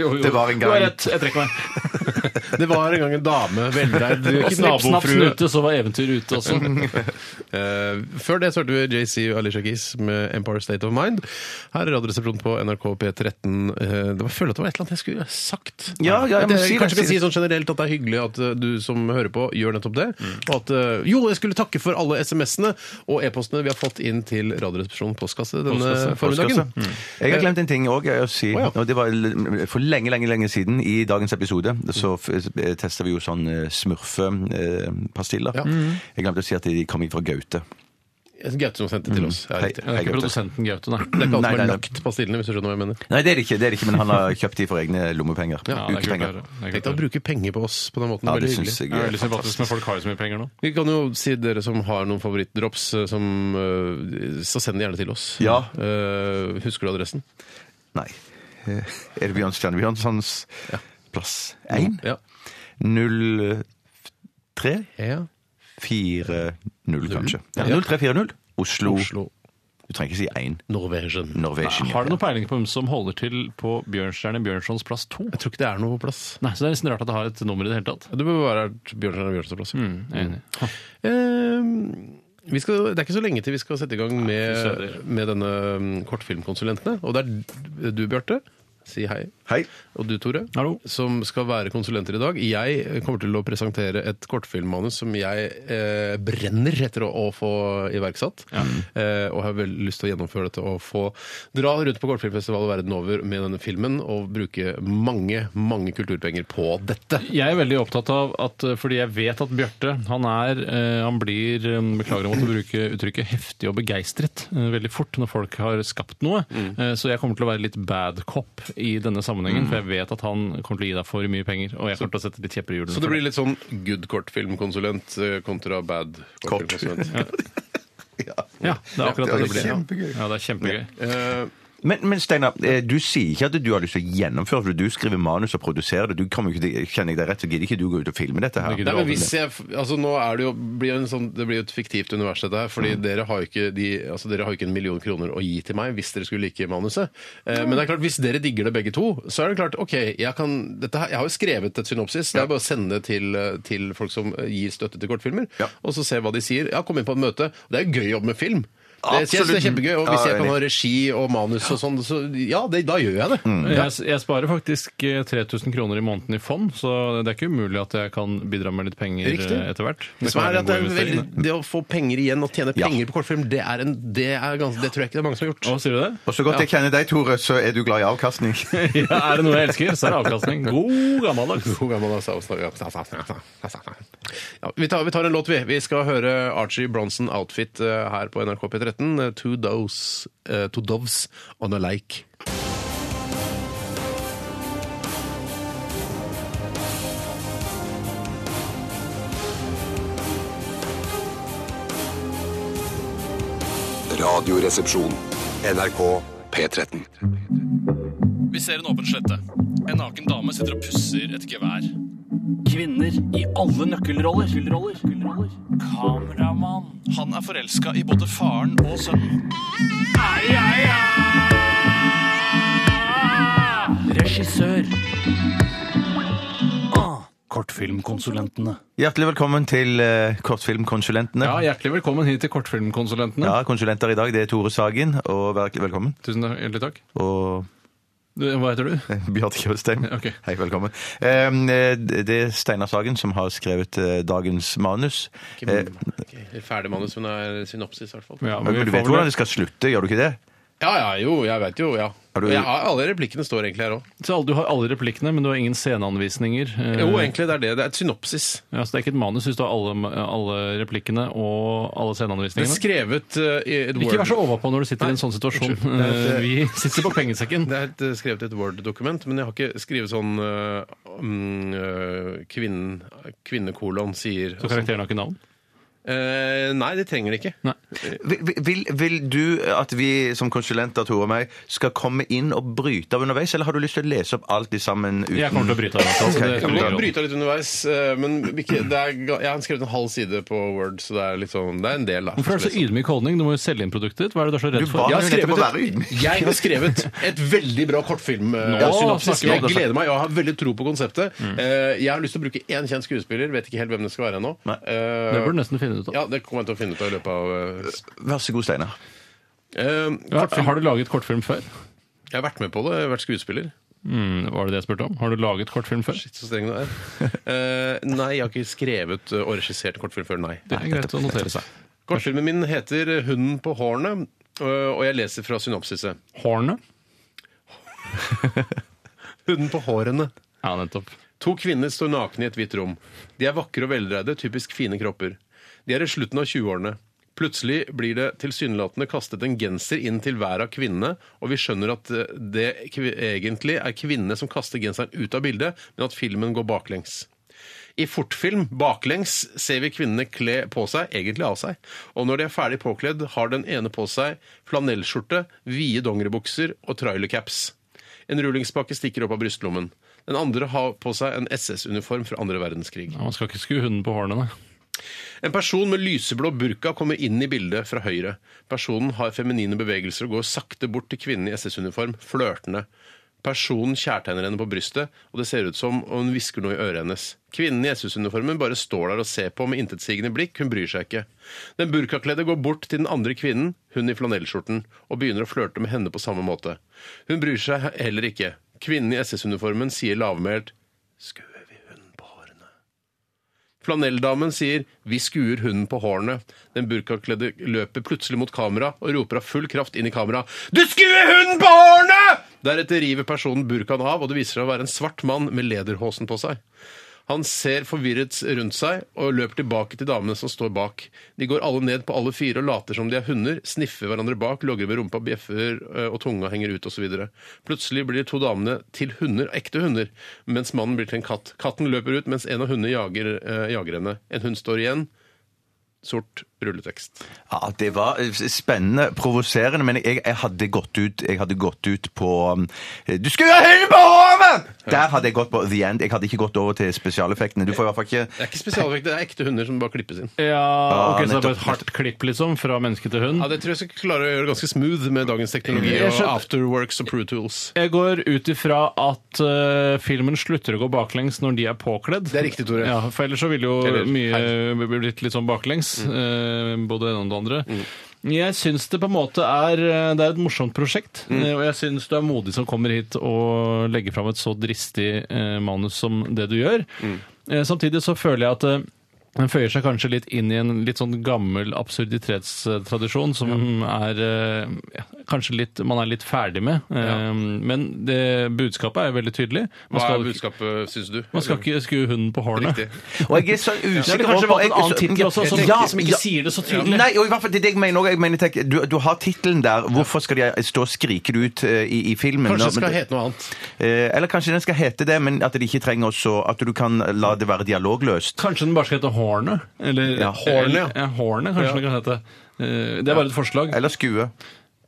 jo, jo. Det var en gang. Du har rett, jeg trekker meg. Det var en gang en dame, velreid Og snipp, snapp, nabofrue snute, så var eventyret ute også. Eh, før det så hørte vi JC og Alicia Keys med 'Empire State of Mind'. Her er Radioresepsjonen på NRK P13. Eh, det var, jeg føler at det var et eller annet jeg skulle ha sagt. Ja, ja, jeg må det, si det, kanskje vi kan si si sånn generelt at det er hyggelig at eh, du som hører på, gjør nettopp det. Og at, eh, jo, jeg skulle takke for alle SMS-ene og e-postene vi har fått inn til Radioresepsjonen postkasse denne Postkasse, formiddagen. Mm. Jeg har glemt en ting òg å si. Å, ja. og Det var l- for lenge, lenge lenge siden. I dagens episode så f- eh, tester vi jo sånn eh, smurfepastiller. Ja. Mm. Jeg glemte å si at de kom inn fra Gaute. Gaute som sendte til oss. Ja, Mm. Hei. riktig. Det er ikke Gaute. produsenten Gaute, nei. Det er ikke Nei, alle som nei, har nei. lagt pastillene, hvis du skjønner hva jeg mener. Nei, det er det ikke, det er det ikke men han har kjøpt de for egne lommepenger. Ja, det er kult å Ukepenger. høre. Det er Tenk deg å kult å høre. bruke penger på oss på den måten. Ja, det er det veldig syns hyggelig. Jeg jeg er er veldig sympatisk med folk har jo så mye penger nå. Vi kan jo si dere som har noen favorittdrops, eh, som, eh, så send det gjerne til oss. Ja. Eh, husker du adressen? Nei. Eh, Er det Bjørn Stjerne Bjørnsons plass 1? Ja. 0 3 ja. 4 0, kanskje. Ja, Ja. 0340 Oslo. Oslo. Du trenger ikke si 1. Norwegian. Norwegian. Har du noen peiling på hvem som holder til på Bjørnstjerne Bjørnsons plass 2? Jeg tror ikke det er noe på plass. Nei, så det er nesten rart at det har et nummer i det hele tatt. Det bør være Bjørnstjerne Bjørnstad plass. Jeg er enig. Eh, vi skal, det er ikke så lenge til vi skal sette i gang fy med, søder. med denne mm, kortfilmkonsulentene. Og det er du, Bjarte, si hei. Hei. Og du, Tore, Hallo. som skal være konsulenter i dag. Jeg kommer til å presentere et kortfilmmanus som jeg eh, brenner etter å, å få iverksatt. Eh, og har veldig lyst til å gjennomføre dette og få dra rundt på kortfilmfestivaler verden over med denne filmen og bruke mange, mange kulturpenger på dette. Jeg er veldig opptatt av at eh, fordi jeg vet at Bjarte han er, eh, han blir, eh, beklager å måtte bruke uttrykket, heftig og begeistret eh, veldig fort når folk har skapt noe. Mm. Eh, Så jeg kommer til å være litt bad cop i denne sammenhengen, for jeg vet at han kommer til å gi deg for mye penger, og jeg kommer til å sette litt kjepper i hjulene. Så det blir litt sånn good kortfilmkonsulent eh, kontra bad kortfilmkonsulent. Ja, det er akkurat det det det blir. er Kjempegøy. Ja, det er kjempegøy. Eh, Men, men Steinar, eh, du sier ikke at du har lyst til å gjennomføre for du skriver manus og produserer det. Du kommer jo ikke, kjenner jeg deg rett, så gidder ikke du gå ut og filme dette her. Det Nei, men hvis jeg, altså nå er det jo blir jo en sånn, Det blir jo et fiktivt univers, dette her. Mm. Fordi dere, har jo ikke de, altså dere har jo ikke en million kroner å gi til meg hvis dere skulle like manuset. Eh, men det er klart, hvis dere digger det begge to, så er det klart OK, jeg, kan, dette her, jeg har jo skrevet et synopsis. Det er bare å sende det til, eh, til folk som gir støtte til kortfilmer, Ja. og så se hva de sier. Ja, kom inn på et møte. Det er jo gøy jobb med film. Det, jeg synes det er Absolutt. kjempegøy, og Hvis Ja, jeg kan enig. ha regi og manus og sånn, så ja, det, da gjør jeg det. Mm. Jeg, jeg sparer faktisk eh, 3000 kroner i måneden i fond, så det er ikke umulig at jeg kan bidra med litt penger Riktig. eh, etter hvert. Det, som kan er være at en det, god er investering, veldig, det å få penger igjen og tjene Ja. penger på kortfilm, det, er en, det, er ganske, det tror jeg ikke det er mange som har gjort. da. Å, sier du det? Og så godt jeg kjenner deg, Tore, så er du glad i avkastning. Ja, er det noe jeg elsker, så er det avkastning. God gammeldags. God gammel altså, å snakke om- Ja, vi, tar, vi tar en låt, vi. Vi skal høre Archie Bronson Outfit eh, her på NRK P13. eh, Two doves, eh, two doves on a lake. Radioresepsjon. NRK P13. Vi ser en åpen slette. En naken dame sitter og pusser et gevær. Kvinner i alle nøkkelroller. Kameramann. Han er forelska i både faren og sønnen. Regissør. Ah, kortfilmkonsulentene. Hjertelig velkommen til eh, Kortfilmkonsulentene. Ja, Hjertelig velkommen hit til Kortfilmkonsulentene. Ja, konsulenter i dag, det er Tore Sagen, og vær hjertelig velkommen. Tusen takk- hjertelig takk. Og eh, Du, Hva heter du? Bjarte Tjøstheim, Ok. hei, velkommen. Eh, Det er Steinar Sagen som har skrevet eh, dagens manus. Eh, Ikke Ferdig manus, men det er synopsis, i hvert fall. Ja, men Men vi du får vet vel- hvordan det skal slutte, gjør du ikke det? Ja, ja, jo, jeg vet jo, ja. Er du- Jeg har- alle replikkene står egentlig her òg. Så alle- Du har alle replikkene, men du har ingen sceneanvisninger. eh, Jo, egentlig, det er det. Det er et synopsis. Ja, så det er ikke et manus hvis du har alle, alle replikkene og alle Det er sceneanvisningene? skrevet eh, i et Ikke vær Word. så overpå når du sitter i en sånn situasjon. Eh, Vi sitter på pengesekken. Det er et, eh, skrevet et Word-dokument, men jeg har ikke skrevet sånn øh, mm, øh, kvinnen, kvinnekolon sier altså. Så karakteren har ikke navn? Eh, Nei, det trenger det ikke. Nei. Vil, vil, vil du at vi som konsulenter, Tore og meg, skal komme inn og bryte av underveis, eller har du lyst til å lese opp alt i sammen? Uten? Jeg kommer til å bryte av. Altså, Ok, det Jeg spiller må ingen rolle. bryte av litt underveis, eh, men ikke, det er, ga- jeg har skrevet en halv side på Word, så det er litt sånn, det er en del. Da, Hvorfor er du så ydmyk holdning? Du må jo selge inn produktet ditt. Hva er det du er så redd Du for? ba- jeg Ja, har, nettopp å være skrevet et, ydmyk. jeg har skrevet et veldig bra kortfilm. eh, Nå synopsis. snakker vi om Jeg det. Mm. gleder meg, jeg har veldig tro på konseptet. Eh, Jeg har lyst til å bruke én kjent skuespiller, vet ikke helt hvem det skal være ennå. Nei. Eh, det burde du nesten finne ut av. Ja, det kommer jeg til å finne ut av i løpet av Vær så god, Steinar. eh, Ja, kortfilm. har du laget kortfilm før? Jeg har vært med på det, jeg har vært skuespiller. Mm, var det det jeg spurte om? Har du laget kortfilm før? Shit, så streng du er. Eh, nei, jeg har ikke skrevet eh, og regissert kortfilm før, nei. Det er greit å notere seg. Kortfilmen min heter 'Hunden på hårene', eh, og jeg leser fra synopsiset. Hornet? Hunden på hårene. Ja, nettopp. To kvinner står nakne i et hvitt rom. De er vakre og veldreide, typisk fine kropper. De er i slutten av 20-årene. Plutselig blir det tilsynelatende kastet en genser inn til hver av kvinnene, og vi skjønner at eh, det kvi- egentlig er kvinnene som kaster genseren ut av bildet, men at filmen går baklengs. I fortfilm baklengs ser vi kvinnene kle på seg, egentlig av seg, og når de er ferdig påkledd, har den ene på seg flanellskjorte, vide dongeribukser og trailercaps. En rullingspakke stikker opp av brystlommen. Den andre har på seg en SS-uniform fra andre verdenskrig. Ja, man skal ikke skue hunden på hårene, nei. En person med lyseblå burka kommer inn i bildet fra høyre. Personen har feminine bevegelser og går sakte bort til kvinnen i SS-uniform, flørtende. Personen kjærtegner henne på brystet, og det ser ut som hun hvisker noe i øret hennes. Kvinnen i SS-uniformen bare står der og ser på med intetsigende blikk, hun bryr seg ikke. Den burkakledde går bort til den andre kvinnen, hun i flanellskjorten, og begynner å flørte med henne på samme måte. Hun bryr seg heller ikke. Kvinnen i SS-uniformen sier lavmælt 'Skuer vi hunden på hårene'? Flanelldamen sier 'Vi skuer hunden på hårene'. Den burkakledde løper plutselig mot kamera og roper av full kraft inn i kamera 'Du skuer hunden på hårene!' Deretter river personen burkaen av, og det viser seg å være en svart mann med lederhosen på seg. Han ser forvirret rundt seg og løper tilbake til damene som står bak. De går alle ned på alle fire og later som de er hunder, sniffer hverandre bak, logrer med rumpa, bjeffer ø, og tunga henger ut osv. Plutselig blir de to damene til hunder, ekte hunder, mens mannen blir til en katt. Katten løper ut mens en av hundene jager, ø, jager henne. En hund står igjen. Sort rulletekst. Ja, det var eh, spennende, provoserende, men jeg, jeg, hadde gått ut, jeg hadde gått ut på um, Du skulle ha hunden på hodet! Der hadde jeg gått på the end. Jeg hadde ikke gått over til spesialeffektene. Du får i hvert fall Det ikke er ikke spesialvekt, det er ekte hunder som bare klippes inn. Ja, ok, så det er nettopp, bare et hardt klipp, liksom, fra menneske til hund. Ja, Det tror jeg skal klare å gjøre ganske smooth med dagens teknologi Jeg og skjønner- afterworks og pro tools. Jeg går ut ifra at eh, filmen slutter å gå baklengs når de er påkledd. Det er riktig, Tore. Ja, for ellers så ville jo Eller Mm. mye blitt litt sånn baklengs. eh, både det ene og det andre. Jeg syns det på en måte er eh, Det er et morsomt prosjekt. Mm. eh, Og jeg syns du er modig som kommer hit og legger fram et så dristig eh, manus som det du gjør. Mm. Eh, samtidig så føler jeg at eh, den føyer seg kanskje litt inn i en litt sånn gammel absurditetstradisjon som er eh, ja, kanskje litt, man er litt ferdig med. Eh, Men det, budskapet er jo veldig tydelig. Man Hva skal, er budskapet, syns du? man skal ikke skue hunden på hårene. Riktig. Og jeg er så Det usikker ville kanskje på- vært en jeg- annen tittel også, som, Jeg tenker- som ikke sier det så tydelig. Nei, og i hvert fall det er det jeg mener også. Jeg mener, tenk, du, du har tittelen der. Hvorfor skal de stå og skrike det ut eh, i, i filmen? Kanskje Nå, det skal men- hete noe annet. Eh, Eller kanskje den skal hete det, men at de ikke trenger også At du kan la det være dialogløst. Kanskje den bare skal hete Hornet? Eller Ja, Hornet, ja. eller- ja. Hornet, kanskje den kan hete. Eh, Det er bare et forslag. Eller skue.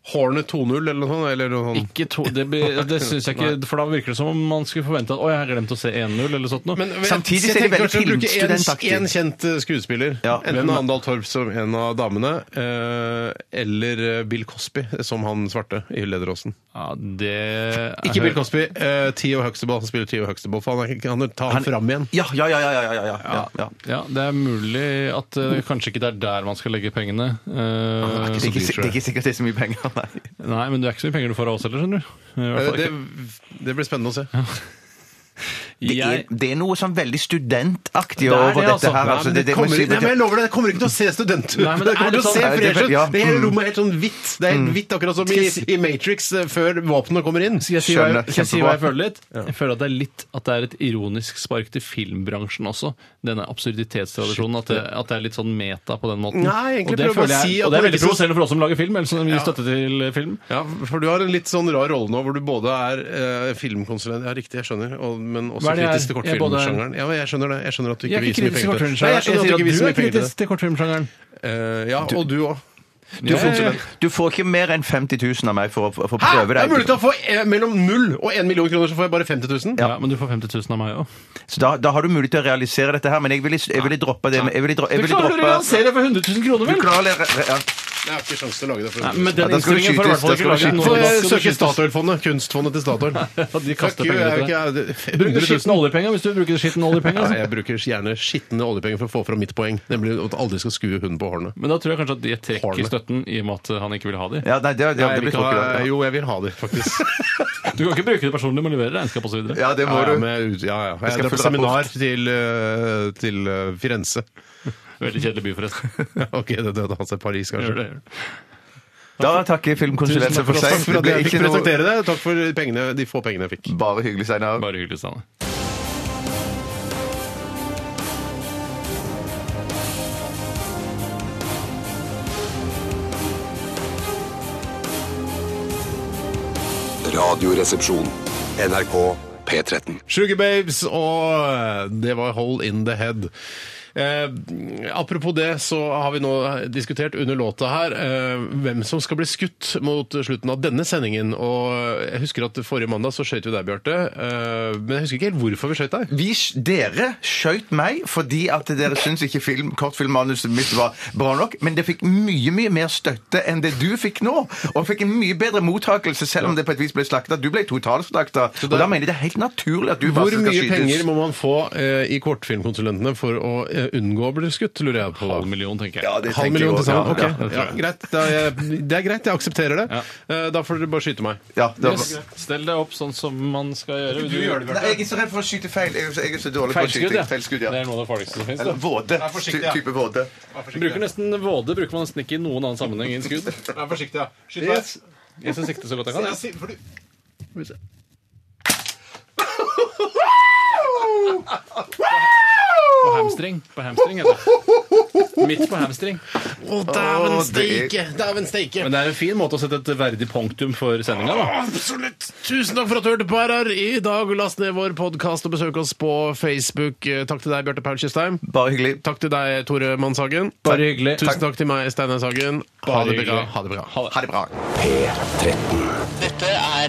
Hornet 2.0 eller noe sånt? Eller noe sånt. Ikke to, det blir- det syns jeg ikke, for da virker det som om man skulle forvente at 'Å, jeg har glemt å se 1-0', eller sånt noe. Samtidig ser de veldig filmstudentaktig. En kjent eh, skuespiller. Ja, Enten hvem- Andal Torp som en av damene, eh, eller eh, Bill Cosby som han svarte i Lederåsen. Ja, det er- Ikke Bill Cosby. Eh, Theo Huxtable. Han spiller Theo Huxtable, for han, er, ikke- han tar han fram igjen. Ja, ja, ja. ja, ja, ja, ja, ja, ja. Ja, det er mulig at eh, kanskje ikke det er der man skal legge pengene. Eh, Det, er Ah, ikke, si- det er ikke sikkert det er så mye penger, nei. nei, men det er ikke så mye penger du får av oss heller, skjønner du. I hvert Eh, fall Det, ikke. det blir spennende å se. Det er, Jeg- det er noe sånn veldig Det studentaktig er det, over dette altså. her. Nei, Altså, men det, det, må jeg si- nei, men jeg lover deg, det kommer ikke til å se student ut. Nei, men det, det er kommer til å litt se sånn- fresh ut. Ja, Det hele mm. rommet er helt sånn hvitt. Det er helt hvitt, akkurat som i, i Matrix eh, før våpenet kommer inn. Skal jeg si hva jeg, Skjønner. skal jeg, si hva jeg Kjempebra. føler litt? Jeg føler at det er litt at det er et ironisk spark til filmbransjen også. Denne absurditetstradisjonen. At det, at det er litt sånn meta på den måten. Nei, og egentlig det, prøver jeg å føler jeg, si og at det er man veldig ikke skal- provoserende for oss som lager film, eller som gir Ja. støtte til film. Ja, for du har en litt sånn rar rolle nå, hvor du både er eh, filmkonsulent Ja, riktig, jeg skjønner, og, men også Hva er det jeg kritisk til er? Jeg både er- kortfilmsjangeren. Ja, men jeg skjønner det. Jeg skjønner at du ikke Jeg er ikke viser mye kritisk til penger til det. Nei, jeg skjønner at du ikke kortfilmsjangeren. viser Jeg sier at du er kritisk mye penger til det. til kortfilmsjangeren. Eh, ja, og du òg. Du er konsulent. Du får ikke mer enn 50 000 av meg for å for å Hæ?! prøve Det er mulig deg. til å få eh, mellom null og én million kroner, så får jeg bare 50 000? Ja, men du får 50 000 av meg òg. Så da, da har du mulighet til å realisere dette her, men jeg ville, jeg ville droppe det. Jeg ville, dro, jeg Du ville klarer å droppe realisere for 100 000 kroner, Du vel? klarer å re- ja. Jeg har ikke sjanse til å lage det. for Nei, 100 000. med den da skal du innstillingen får du i hvert fall skytes, ikke da lage skal du noe. Få Da eh, skal du søke skytes. Statoil-fondet. Kunstfondet til Statoil. Ja, de Fuck kaster you, penger jeg er etter deg. ikke- Bruk det 100 skitne 000. oljepenger hvis du bruker det skitne oljepenger. Ja, Altså. jeg bruker gjerne skitne oljepenger for å få fram mitt poeng, nemlig at jeg aldri skal skue hunden på hårene. Men da tror jeg kanskje at de trekker Hornet. støtten i og med at han ikke vil ha de. ja, nei, det, ja, det Nei, jeg vil blir ikke ha- tråkig. da. jo, jeg vil ha det, faktisk. Du kan ikke bruke det personlig, du må levere regnskap osv. Ja, det må ja, ja, du. men jeg er ut- ja, ja. Jeg, skal drar på følge seminar rapport. til, eh, til eh, Firenze. Veldig kjedelig by, forresten. ok, det døde han seg i Paris, Gjør kanskje. det, gjør det. Da takker filmkonsulenten for Takk seg. for Det at ble jeg ikke fikk noe presentere det. Takk for pengene, de få pengene jeg fikk. Bare hyggelig, Steinar. Bare hyggelig, Steinar. Radioresepsjon. NRK P13. Sugar Babes, og eh, det var Hole in the Head. Eh, apropos det, så har vi nå diskutert under låta her eh, hvem som skal bli skutt mot slutten av denne sendingen. Og jeg husker at forrige mandag så skøyt vi deg, Bjarte. Eh, men jeg husker ikke helt hvorfor vi skøyt deg. Vi, dere skjøt meg fordi at dere syns ikke film, kortfilmmanuset mitt var bra nok, men det fikk mye mye mer støtte enn det du fikk nå. Og fikk en mye bedre mottakelse, selv om det på et vis ble slakta. Du ble totalslakta. Og da mener jeg det er helt naturlig at du Hvor bare skal mye skytes. penger må man få eh, i kortfilmkonsulentene for å eh, unngå å bli skutt, lurer jeg på. da. Halv million, tenker jeg. Ja, det Halv tenker jeg million også. til sammen? Ja, Ok, ja, ja, greit. Da, er jeg, det er greit, jeg aksepterer det. Eh, Da får dere bare skyte meg. Ja, det var- Yes. Stell deg opp sånn som man skal gjøre. Du, Nei, jeg er så redd for å skyte feil. Jeg er så, jeg er så dårlig på å Feilskudd, skyte. ja. Feilskudd, ja. Det er noe av det farligste som Eller fins. våde. Vær forsiktig, ja. Ty- Type våde. Bruker nesten våde bruker man nesten ikke i noen annen sammenheng enn skudd. Vær forsiktig, ja. Skyt Jeg skal sikte så godt jeg kan. jeg. På hamstring. På hamstring heter det. Midt på hamstring. Å, dæven Å, det steike! Dæven steike! Men det er en fin måte å sette et verdig punktum for sendinga. Absolutt! Tusen takk for at du hørte på RR i dag. Last ned vår podkast og besøk oss på Facebook. Eh, Takk til deg, Bjarte Paul Tjøstheim. Bare hyggelig. Takk til deg, Tore Mannshagen. Bare hyggelig. Tusen takk til meg, Steinar Sagen. Ha det bra. hyggelig. Ha det bra. Ha det bra. Dette er